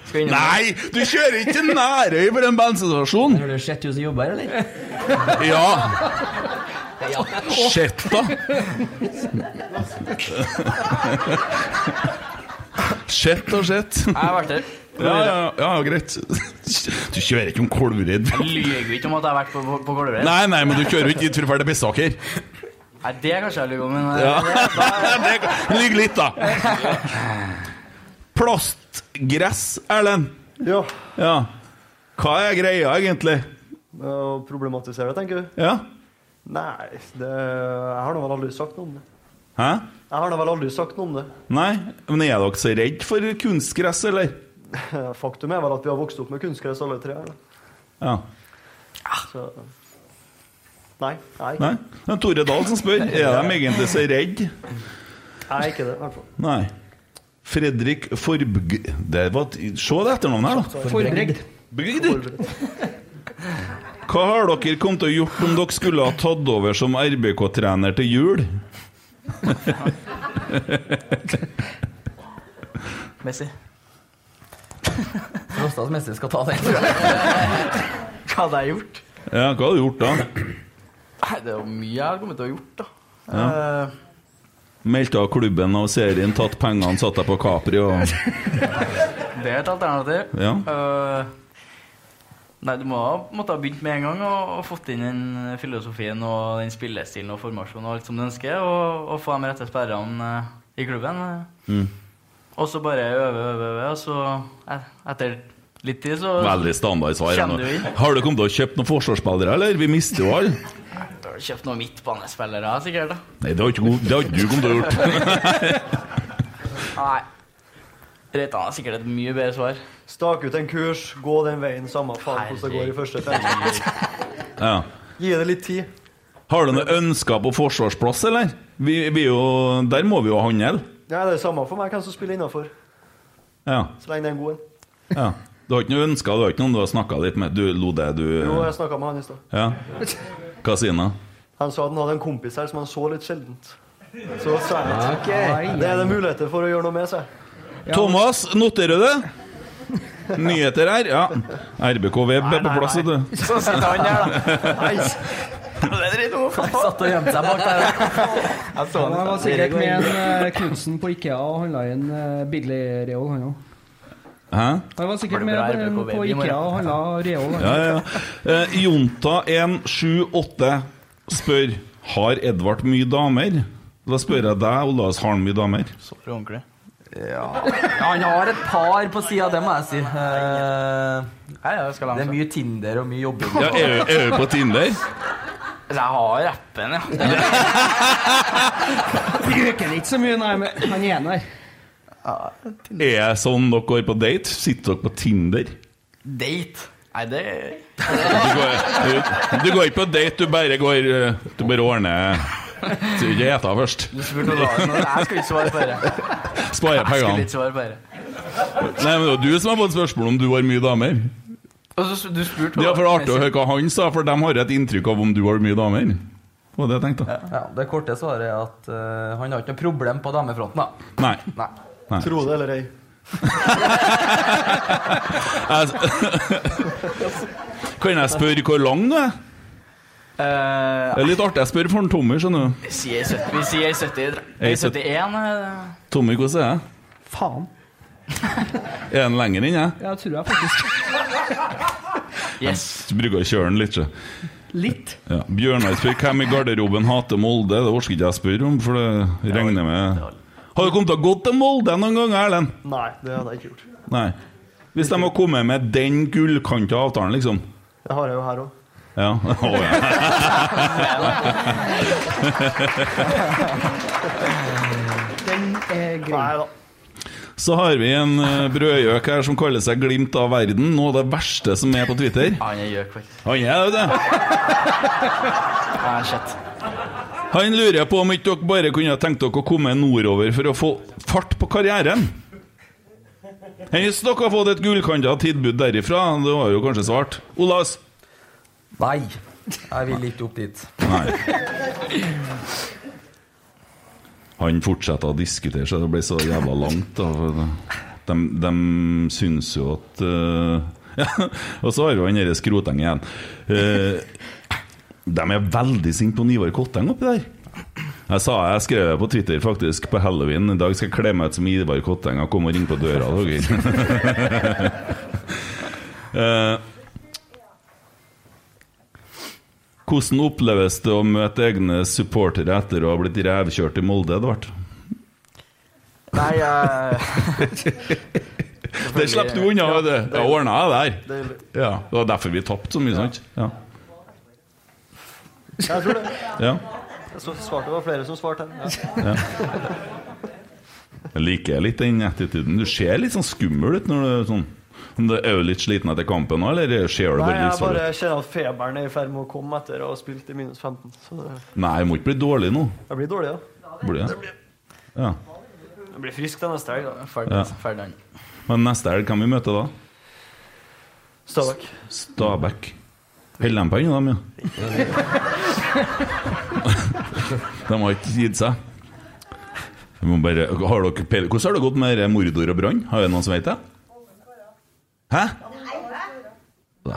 H: Skal vi innom-
D: Nei, du kjører ikke til Nærøy for en bandstasjon!
F: Har du sett hun som jobber her, eller?
D: Ja. Shit, da. Shit og shit.
H: Jeg har vært der.
D: Ja, ja, ja, greit. Du kjører ikke om Kolvereid?
H: Jeg lyver jo ikke om at jeg har vært på, på, på Kolvereid.
D: Nei, nei, men du kjører jo ikke dit for å dra til Bessaker.
H: Nei, det kanskje jeg lyver om, men
D: Ja.
H: eh, det, da,
D: Det ligger litt, da. Plastgress, Erlend.
I: Ja,
D: Ja. Hva er greia, egentlig?
I: å problematisere det, tenker du?
D: Ja?
I: Nei, det, jeg har nå vel aldri sagt noe om det.
D: Hæ?
I: Jeg har nå vel aldri sagt noe om det.
D: Nei, men er dere så redd for kunstgress, eller?
I: Faktum er vel at vi har vokst opp med kunstgress alle tre her, da.
D: Ja.
I: Så Nei, jeg er ikke,
D: Nei. Det er Tore Dahl som spør. Er de egentlig så redd?
I: jeg er ikke det, i hvert fall.
D: Nei. Fredrik Forbg... Det var et... Se det etternavnet her, da.
E: Forbregd.
D: Bygd. Hva har dere kommet til å gjort om dere skulle ha tatt over som RBK-trener til jul?
H: Messi.
J: Rostas mester skal ta den, tror jeg.
H: Hva hadde jeg gjort?
D: Ja, hva har du gjort da?
H: Nei, det er jo mye jeg har kommet til å ha gjort, da.
D: Ja.
H: Eh,
D: Meldte av klubben og serien, tatt pengene, satt deg på Capri og
H: Det er et alternativ.
D: Ja.
H: Eh, nei, du må ha måtte ha begynt med en gang og, og fått inn den filosofien og den spillestilen og formasjonen og alt som du ønsker, og, og få de rette sperrene eh, i klubben.
D: Mm.
H: Og så bare øve, øve, øve, og så et- etter litt tid så
D: Veldig standard svar.
H: Kjenner du inn?
D: Har du kommet til å kjøpe noen forsvarsspillere, eller? Vi mister jo alle.
H: Da har du kjøpt noen midtbanespillere, sikkert. da.
D: Nei, det har ikke, det har ikke du kommet til å gjort.
H: Nei. Reitan har sikkert et mye bedre svar.
I: Stak ut en kurs, gå den veien, samme faen hvordan det går i første trening.
D: ja.
I: Gi det litt tid.
D: Har du noen ønsker på forsvarsplass, eller? Vi, vi er jo, der må vi jo handle.
I: Ja, det er samme for meg hvem som spiller innafor,
D: Ja.
I: så lenge det er en god en.
D: ja. Du har ikke noen ønsker, du har ikke noen du har snakka litt med? Du lo det, du
I: Jo, jeg snakka med han i stad.
D: Ja. Hva sier han da?
I: Han sa at han hadde en kompis her som han så litt sjeldent. Så sa jeg
F: Ok.
I: Det er det muligheter for å gjøre noe med seg.
D: Thomas, noterer du det? Nyheter her? Ja. RBK Web er på plass, vet du.
H: Så sitter han der, da. Nei. Det er dritt ord, faen.
J: Satt og gjemte seg bak der.
H: Jeg så
E: Han var
H: han.
E: sikkert med en eh, Knutsen på Ikea og handla en eh, billig reol, han òg.
D: Hæ?
E: Han var sikkert
H: Var det
E: med
H: bra
E: på,
H: RBK
E: på
H: baby i morgen?
E: Ikea og handla reol.
D: Ja,
E: Han.
D: ja, ja. Eh, Jonta178 spør Har Edvard mye damer. Da spør jeg deg, Olavs, har han mye damer?
H: Sorry, ordentlig.
J: Ja. Han har et par på sida, det må jeg si. Eh,
H: Nei, jeg skal altså.
J: Det er
H: langt.
J: mye Tinder og mye jobbing.
D: Ja, er vi- er vi på Tinder?
H: Jeg har rappen, ja.
E: Bruker det ikke så mye, nei, men han ene der.
D: Er jeg sånn dere går på date? Sitter dere på Tinder?
H: Date. Nei, det
D: Du går, du, du går ikke på date, du bare går eh, Du bare ordner Du ikke gjeta først.
H: Du spurte Olav nå. Jeg skulle ikke svare på det.
D: Sparer
H: Jeg skulle
D: pengene.
H: ikke svare på det.
D: Nei, men Det var du som har fått spørsmål om du har mye damer.
H: Og så du spurte
D: Det er for artig å
H: Olav.
D: høre hva han sa, for de har et inntrykk av om du har mye damer. Det var det jeg tenkte.
J: Ja, det korte svaret er at eh, han har ikke noe problem på damefronten, da.
D: Nei.
J: Nei.
I: Tro det eller ei.
D: Kan jeg spørre hvor lang du er?
H: Eh,
D: Det er litt artig. Jeg spør for en Tommy, skjønner du.
H: vi sier 70, vi sier 70,
D: Jeg
H: nei,
D: er sytt-
H: 71. eh,
D: Tommy, hvordan er jeg?
E: Faen.
D: Er han lenger enn jeg?
E: Jeg tror jeg faktisk
H: Yes.
D: Så bruker jeg å kjøre han litt, så.
E: Litt.
D: Ja. Bjørnar spør hvem i garderoben hater Molde. Det orker ikke jeg å spørre om, for det regner med Har du kommet til å gå til Molde noen gang, Erlend?
I: Nei, det hadde jeg ikke gjort.
D: Nei. Hvis de har kommet med den gullkanta avtalen, liksom.
I: Det har jeg jo her òg.
D: Ja. Å, ja.
E: Den er grei.
I: Nei da.
D: Så har vi en eh, brødgjøk her som kaller seg Glimt av verden. Noe av det verste som er på Twitter.
H: Ja, Han er gjøk, faktisk.
D: Han er jo det.
H: Ja, shit.
D: Han lurer på om ikke dere bare kunne tenkt dere å komme nordover for å få fart på karrieren. Hvis dere har fått et gullkanta tilbud derifra, det var jo kanskje svart. Olas?
J: Nei. Jeg vil ikke opp dit.
D: Nei. Han fortsetter å diskutere seg, det ble så jævla langt. Da. for De, de syns jo at eh, ja, Og så har jo han derre skrotengen igjen. Eh, de er veldig sinte på Ivar Kotteng oppi der. Jeg sa jeg skrev det på Twitter faktisk på halloween. I dag skal jeg kle meg ut som Ivar Kotteng og komme og ringe på døra. dere. Eh, Hvordan oppleves det å møte egne supportere etter å ha blitt revkjørt i Molde, Edvard?
H: Nei, eh,
D: Det slapp du unna, vet du. Det ordna jeg der.
I: Det,
D: Ja, det var derfor vi tapte så mye, sant? Ja.
I: jeg tror det.
D: ja.
I: Jeg så svarte, det var flere som svarte her. Ja.
D: Jeg liker litt den attituden. Du ser litt sånn skummel ut når du er sånn Om du er jo litt sliten etter kampen nå, eller ser du
I: Nei,
D: bare litt
I: jeg
D: sånn
I: bare
D: ut?
I: kjenner at feberen er i ferd med å komme etter å ha spilt i minus 15. Så det,
D: Nei, jeg må ikke bli dårlig nå.
I: jeg blir dårlig, ja.
D: Blir det? Ja.
I: Jeg blir frisk den neste helg, da.
H: ferdig.
D: Ja.
H: ferdig. han.
D: Men neste helg kan vi møte da?
I: Stabæk.
D: Stabæk. Holder de på ennå, dem, ja? de har ikke gitt seg. Vi må bare, har dere, peiling- hvordan har det gått med dere mordor og brann? Har det noen som vet det? Hæ? Nei.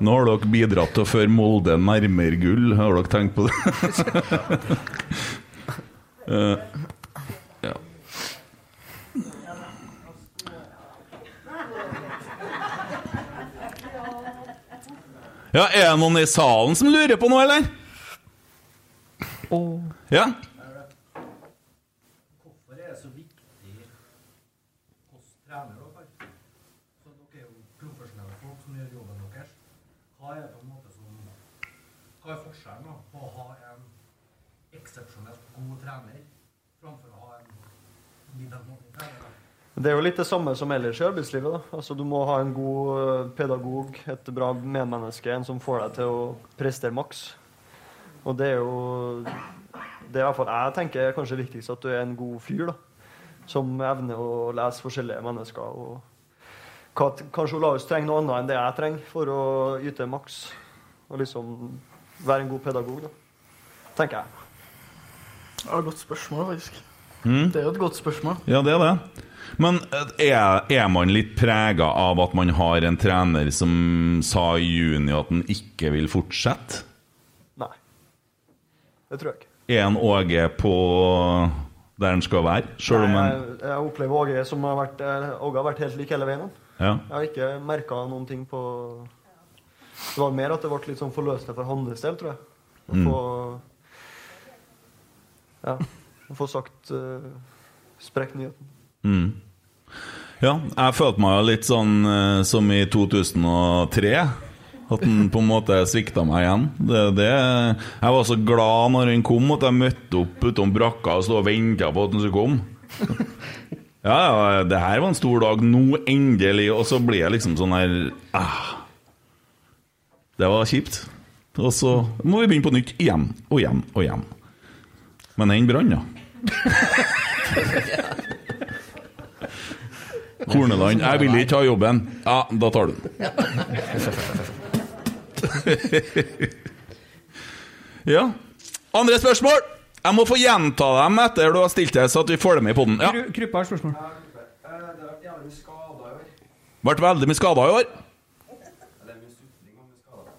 D: Nå har dere bidratt til å føre Molde nærmere gull. Har dere tenkt på det? Eh, ja. ja, er det noen i salen som lurer på noe, eller? Ja?
I: Det er jo litt det samme som ellers i arbeidslivet. da. Altså, Du må ha en god eh, pedagog, et bra medmenneske, en som får deg til å prestere maks. Og det er jo Det er i hvert fall jeg tenker er kanskje viktigst at du er en god fyr. da. Som evner å lese forskjellige mennesker. og hva- Kanskje Olaus trenger noe annet enn det jeg trenger for å yte maks. Og liksom være en god pedagog, da. Tenker jeg.
H: Det var et godt spørsmål, faktisk.
D: Mm.
H: Det er jo et godt spørsmål.
D: Ja, det er det. Men eh, er, er man litt prega av at man har en trener som sa i juni at han ikke vil fortsette?
I: Nei. Det tror jeg ikke.
D: Er han Åge på der han skal være? Selv om
I: Nei,
D: han
I: jeg, jeg opplever Åge som har vært, eh, Åge har vært helt lik hele veien. han.
D: Ja.
I: Jeg har ikke merka noen ting på Det var mer at det ble litt sånn forløsende for hans del, tror jeg. Å
D: Mm.
I: få Ja. Å få sagt uh, sprekk nyheten.
D: Mm. Ja, jeg følte meg jo litt sånn eh, som i 2003. At han på en måte svikta meg igjen. Det, det, jeg var så glad når han kom, at jeg møtte opp utom brakka og sto og venta på at han skulle komme. Ja, ja, det her var en stor dag. Nå endelig. Og så blir jeg liksom sånn her ah. Det var kjipt. Og så må vi begynne på nytt igjen og igjen og igjen. Men den brann, ja. Korneland, jeg vil ikke ha jobben. Ja, da tar du den. Ja. Andre spørsmål? Jeg må få gjenta dem etter du har stilt deg, så at vi får dem i poden. Ja.
E: Kru- Krypa har et spørsmål.
D: Vært veldig mye skada i år.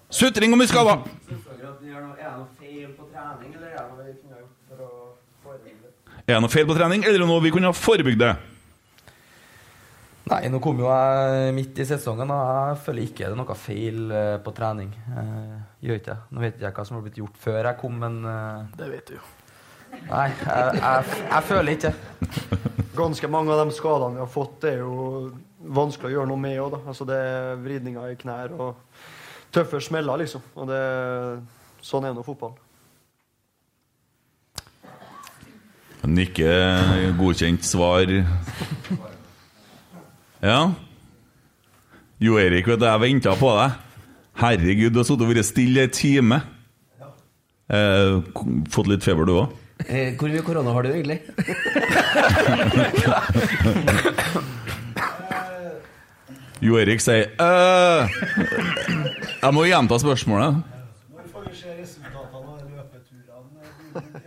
D: Sutring og mye skada. Er det noe feil på trening, eller er det noe vi kunne ha forebygd det?
J: Nei, nå kom jo jeg midt i sesongen, og jeg føler ikke det er noe feil eh, på trening. Eh, gjør ikke det. Nå vet ikke jeg hva som har blitt gjort før jeg kom, men eh,
H: Det vet du jo.
J: Nei, jeg, jeg, jeg føler ikke det.
I: Ganske mange av de skadene vi har fått, det er jo vanskelig å gjøre noe med òg. Altså, det er vridninger i knær og tøffe smeller, liksom. Og det, sånn er nå fotballen.
D: Men ikke godkjent svar. Ja. Jo Erik, vet du, jeg venta på deg. Herregud, du har sittet og vært stille i en time. Eh, k- fått litt feber, du òg?
F: Eh, hvor mye korona har du egentlig?
D: Jo Erik sier «Øh, Jeg må gjenta spørsmålet. Når får vi se resultatene av løpeturene?
J: Der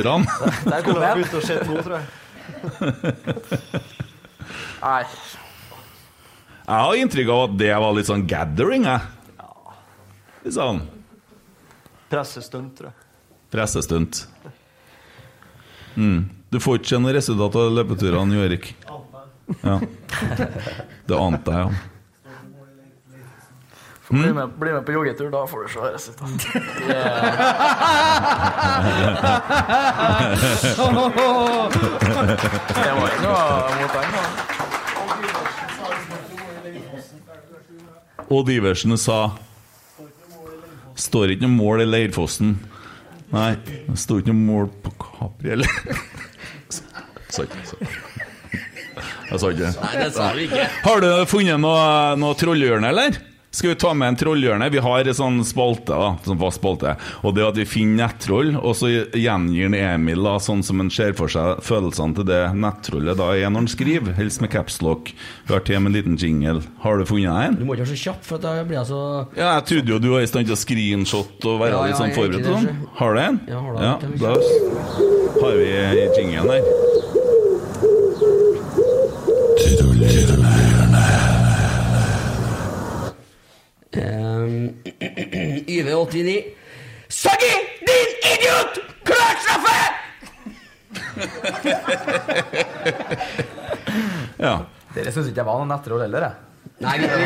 J: kom
I: Skulle ha
J: jeg.
I: begynt å se nå, tror jeg.
H: Nei.
D: Jeg har inntrykk av at det var litt sånn gathering, jeg. Litt sånn
I: Pressestunt, tror jeg.
D: pressestunt. Mm. Du får ikke se noe resultat av løpeturene, Jo Erik. Ja. Det ante jeg, ja. Mm.
H: Bli med, bli med på joggetur, da får du se resultatet. Det var ikke noe mot deg nå.
D: Odd Iversen sa Står ikke noe mål i Leirfossen. Nei, det sto ikke noe mål på Capri eller Sa ikke sa- Jeg sa ikke det.
F: Nei, det sa du ikke.
D: Har du funnet noe, noe trollhjørne, eller? Skal vi ta med en trollhjørne? Vi har en sånn spalte, da, sånn fast spalte. Og det at vi finner nettroll, og så gjengir han Emil da, sånn som han ser for seg følelsene til det nettrollet da er når han skriver, helst med capslock. Vi har til med en liten jingle. Har du funnet en?
F: Du må ikke være så kjapp, for at da blir jeg så
D: Ja, jeg trodde jo du var i stand til å screenshot og være
F: Ja, ja,
D: litt sånn
F: jeg er
D: forberedt.
F: egentlig
D: Sånn. Har du en?
F: Ja, har du en? Kan vi
D: da har vi i jingelen her.
F: Ehm, YV89. Saggi, din idiot! Klart straffe!
D: Ja.
J: Dere syns ikke jeg var noen etterhold heller, jeg.
F: Nei, vi, vi,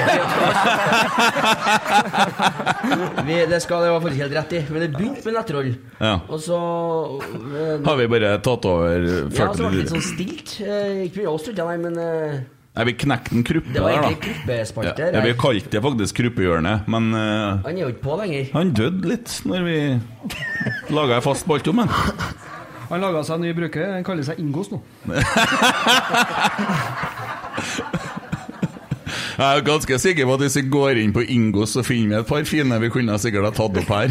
F: vi, det skal det var faktisk helt rett i. Men det begynte med nettroll.
D: Ja.
F: Og så eh,
D: Har vi bare tatt over
F: Ja,
D: ført
F: så ble det litt
D: videre?
F: sånn stilt. Eh, Ikke mye av oss, tror jeg, nei, men eh,
D: Nei, vi knekte en kruppe
F: det var
D: der,
F: egentlig
D: da. Ja,
F: gruppespalte.
D: ja, vi
F: der.
D: kalte det faktisk Kruppehjørnet, men eh,
F: Han er jo ikke på lenger.
D: han døde litt når vi laga ei fast spalte om han.
E: Han laga seg en ny bruker. Den kaller seg Ingos nå.
D: Jeg er ganske sikker på at hvis vi går inn på Ingos, så finner vi et par fine vi kunne sikkert ha tatt opp her.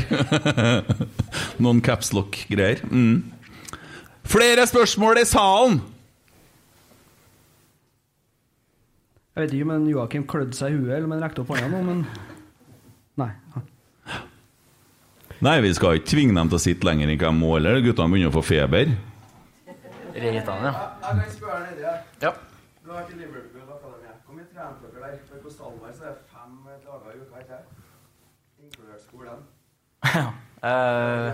D: Noen capslock-greier. Mm. Flere spørsmål i salen!
E: Jeg vet ikke om en Joakim klødde seg i huet eller om han rekte opp hånda nå, men Nei.
D: Nei, vi skal ikke tvinge dem til å sitte lenger enn hva de må, eller guttene begynner å få feber.
H: Regitan, ja.
C: Jeg kan spørre deg det.
H: ja.
C: Du har vært i Liverpool Akademiet. Hvor mye trente dere der? For på Stalberg så er det fem dager i uka, ikke sant? Inkludert skolen.
H: Eh,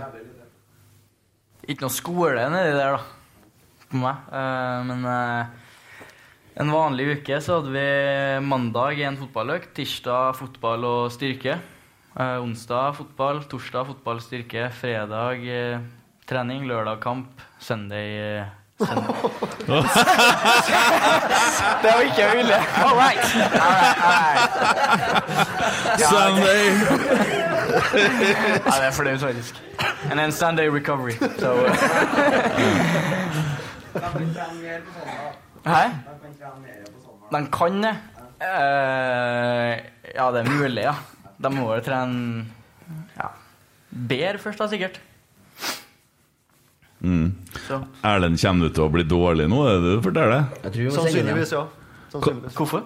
H: ikke noe skole nedi der, da. På meg. Eh, men eh, en vanlig uke så hadde vi mandag en fotballøk, tirsdag fotball og styrke. Eh, onsdag fotball, torsdag fotball, styrke, fredag eh, trening, lørdag kamp, søndag eh, søndag. det var ikke jeg ville. All right. All right, all right.
D: Sunday!
H: Ja, det er flaut, faktisk. And then Sunday recovery. So, uh. Hæ? De kan det. Eh, ja, det er mulig, ja. De må jo trene ja, bedre først, da, sikkert. Så.
D: Erlend, kommer du til å bli dårlig nå? Er det det du forteller?
F: Jeg tror vi må sende den.
I: Sannsynligvis, ja. Sannsynligvis. Hvorfor?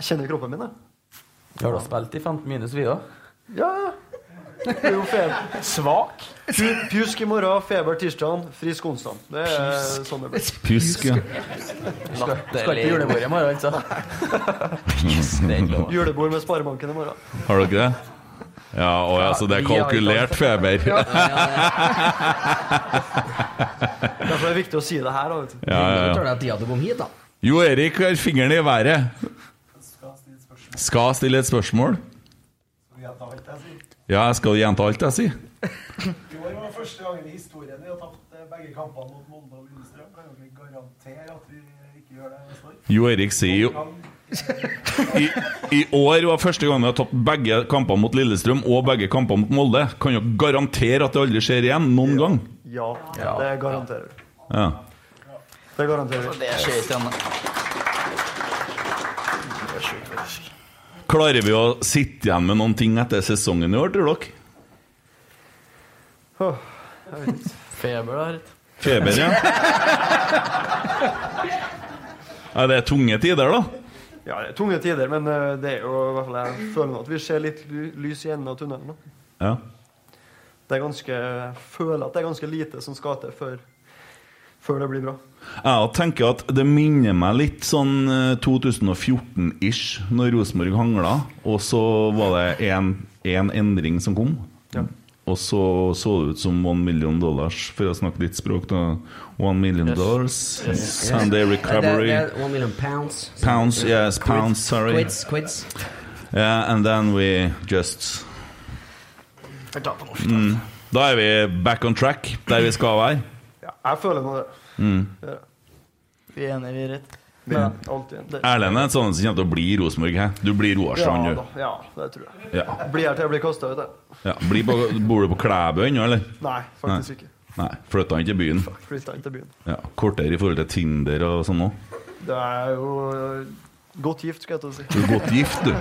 I: Jeg kjenner kroppen min, jeg.
J: Vi har da spilt i 15 minus, vi òg.
I: Ja, ja. Det er jo feber.
H: Svak?
I: Pu- Pjusk i morgen, feber tirsdag, frisk onsdag. Det er sånn det blir.
D: Pjusk, ja.
J: Skal ikke på julebord i morgen, altså.
I: Julebord med Sparebanken i morgen.
D: Har dere det? Ja, å ja, så det er kalkulert feber? Ja,
I: Derfor er det viktig å si det her. da, vet du.
D: ja,
F: Da
D: ja.
F: tar det tida til å komme hit, da.
D: Jo Erik har fingeren i været. Skal stille et spørsmål. Ja, jeg skal gjenta alt jeg sier.
C: I år var det første gangen i historien vi har tapt eh, begge kampene mot Molde og Lillestrøm. Kan dere garantere at vi ikke gjør det neste år?
D: Jo Erik sier jo I, I år var første gang vi har tapt begge kampene mot Lillestrøm og begge kampene mot Molde. Kan jo garantere at det aldri skjer igjen. Noen gang.
I: Ja, det garanterer vi.
D: Ja.
I: Det garanterer vi.
H: Det skjer ikke ennå.
D: Klarer vi å sitte igjen med noen ting etter sesongen i år, tror dere?
I: Åh,
H: Feber, da, rett.
D: Feber, ja. Ja, det er tunge tider, da.
I: Ja, det er tunge tider, men eh, det er jo i hvert fall jeg føler nå at vi ser litt ly- lys i enden av tunnelen. nå.
D: Ja.
I: Det er ganske, jeg føler at det er ganske lite som skal til før, før det blir bra.
D: Jeg tenker at det minner meg litt sånn eh, 2014-ish, når Rosenborg hangla, og så var det én endring som kom. Og så så det ut som one million dollars, for å snakke ditt språk, da. One million dollars, Sunday recovery,
F: Det, det, er one million pounds.
D: pounds, yes, pounds, sorry.
F: Quids, quids.
D: Yeah, and then we just
H: Jeg tar på norsk. da.
D: Da er vi back on track, der vi skal være.
I: Ja, jeg føler nå det. Mm.
H: Vi er enige, vi er rett.
I: Det er alltid det.
D: Erlend er en sånn som kommer til å bli i Rosenborg. hæ? Du blir
I: Ja,
D: Roarsand,
I: da,
D: du.
I: ja, det tror jeg.
D: Ja.
I: Blir her til jeg blir kasta ut, jeg.
D: Ja. Blir på, bor du på Klæbu ennå, eller?
I: Nei, faktisk ikke.
D: Nei, flytta han til byen.
I: Flytta inn til byen.
D: Ja, Kortere i forhold til Tinder og sånn òg.
I: Det er jo eh, godt gift, skal jeg til å si.
D: Du er godt gift, du.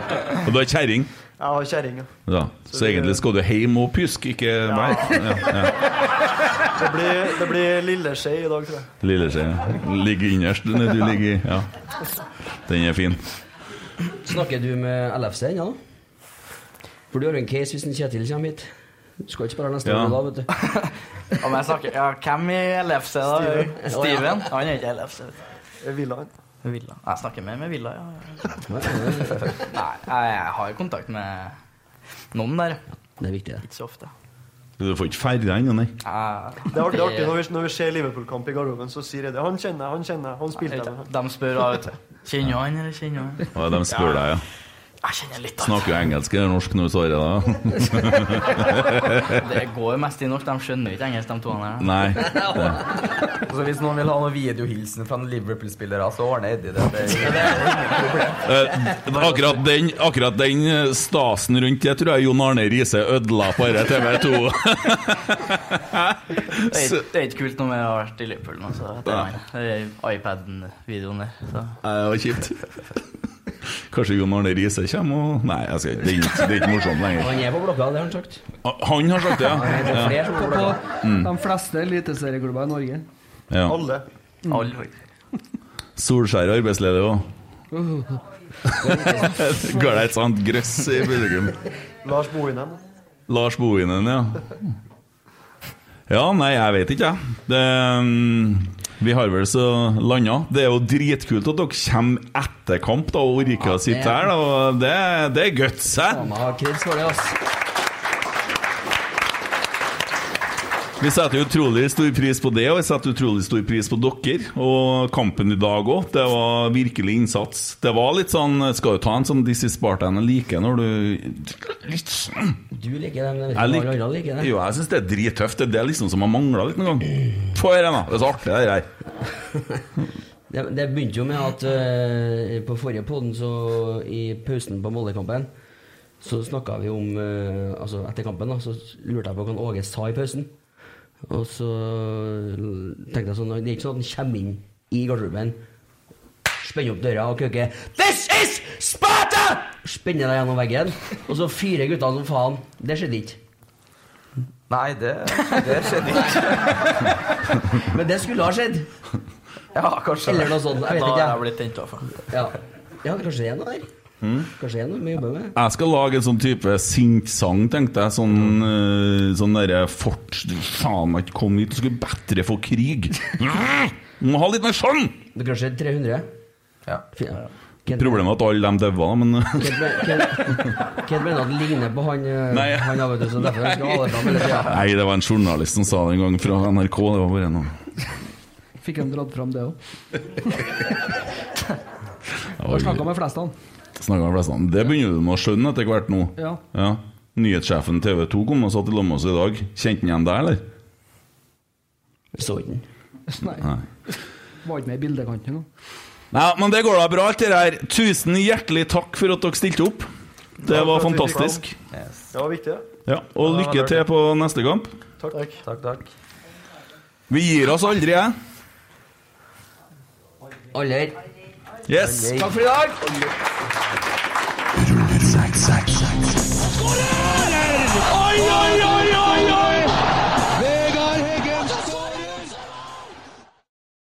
D: Og du har kjerring.
I: Jeg har kjerring. ja.
D: Ja. Så egentlig skal du hjem og pjuske, ikke meg. Ja, ja.
I: Det blir, det blir lilleskje i dag, tror jeg.
D: Lilleskje ligger innerst når du ligger i. Ja. Den er fin.
F: Snakker du med LFC ennå? da? For du har jo en case hvis en Kjetil kommer hit. Du skal ikke spare neste
D: Ja.
F: år da, vet du.
H: Om jeg snakker Ja, hvem i LFC, da? Steven? Han er ikke LFC. vet du.
I: Jeg vil ha en.
H: Villa. Jeg snakker mer med Villa, ja. ja. Nei, jeg har kontakt med noen der.
F: Det er viktig, det.
H: Ikke så ofte.
D: Du får ikke ferdig ennå, nei.
H: Jeg-
I: Det er artig, det er artig. Når, vi, når vi ser Liverpool-kamp i garderoben, så sier jeg det. Han kjenner jeg, han kjenner jeg, han spilte jeg med.
H: De spør da, vet du. Kjenner du han, eller kjenner du han?
D: Og de spør deg, ja.
H: Jeg kjenner litt, da.
D: Snakker jo engelsk eller norsk nå, svarer jeg da.
H: Det går mest i norsk. De skjønner jo ikke engelsk, de to her.
D: Nei.
J: Altså, hvis noen vil ha noen videohilsen fra en Liverpool-spillere, så ordner Eddie det. det, det.
D: Eh, akkurat, den, akkurat den eh, stasen rundt det tror jeg Jon Arne Riise ødela på dette TV 2.
H: Det er ikke- det er ikke kult når vi har vært i Liverpool nå, så det er meg. Det er iPaden-videoen der. Så.
D: Nei, det var kjipt. Kanskje Jon Arne Riise kommer og Nei, jeg skal, det, er ikke, det er ikke morsomt lenger.
F: Han er på blokka, det har han sagt.
D: Han har sagt det, ja.
J: er flere som går
E: På
J: blokka.
E: de fleste eliteserieklubber i Norge.
D: ja.
I: Alle.
H: Alle, faktisk.
D: Solskjær er arbeidsledig òg. Ga deg et sånt grøss i publikum.
I: Lars Bohinen.
D: Lars Bohinen, ja. Ja, nei, jeg vet ikke, jeg. Det, mm, Vi har vel så landa. Det er jo dritkult at dere kommer etter kamp da, og orker å sitte her. da, og Det, det er guts, hæ?
F: Han har kreds for det, ass.
D: Vi setter utrolig stor pris på det, og vi setter utrolig stor pris på dere. Og kampen i dag òg. Det var virkelig innsats. Det var litt sånn Skal du ta en sånn This is Spartan jeg liker når du Litt sånn.
F: Du liker den,
D: Jeg liker,
F: jeg vet ikke om alle andre liker den.
D: jo, jeg syns det er drittøft. Det er det liksom som har mangla litt noen gang. Få høre, da. Det er så artig, det her.
F: Det, det begynte jo med at eh, på forrige podden, så i pausen på Moldekampen, så snakka vi om eh, Altså etter kampen, da, så lurte jeg på hva han Åge sa i pausen. Og så tenkte jeg sånn Det er ikke sånn at han kommer inn i garderoben, spenner opp døra og kuker 'This is Sparta!' Spenner deg gjennom veggen, og så fyrer gutta som faen. Det skjedde ikke.
J: Nei, det, det skjedde ikke.
F: Men det skulle ha skjedd.
J: Ja, kanskje.
F: Eller noe sånt.
H: Da
F: Jeg vet ikke.
H: har jeg
F: jeg.
H: blitt tent av. for.
F: Ja, ja kanskje det er noe der. Kanskje det er noe vi jobber med.
D: Jeg skal lage en sånn type sinnsang, tenkte jeg. Sånn, eh, sånn derre fort Faen, jeg kom hit og skulle bedre få krig. Må ha litt mer sånn!
F: Det er kanskje 300?
J: Ja.
F: Fy- Kent-
D: Problemet er at alle dem daua, men
F: Kent men- Kent- Kent mener at det ligner på han eh,
D: Nei.
F: Han har vet du, så derfor skal alle fram hele tida.
D: Nei, det var en journalist som sa det en gang fra NRK. Det var bare noe
E: Fikk han dratt fram det òg.
D: Oi,
E: Snakka med flest av han.
D: snakket med flest om. Det begynner du med å skjønne etter hvert nå.
E: Ja.
D: Ja. Nyhetssjefen TV 2 kom og satt i lag med oss i dag. Kjente han igjen deg, eller?
F: Så ikke den.
E: Nei. Var ikke med i bildekanten nå.
D: Nei, men det går da bra, alt det her. Tusen hjertelig takk for at dere stilte opp. Det
I: Takk
D: var
I: for at vi fikk
D: fantastisk.
I: Det var viktig, det.
D: Ja, og
J: Ja, det
D: lykke
J: var
D: til på neste kamp.
I: Takk.
J: Takk, takk.
D: Vi gir oss aldri, jeg.
F: Aller.
D: Yes.
J: Takk for i dag!
B: Skårer!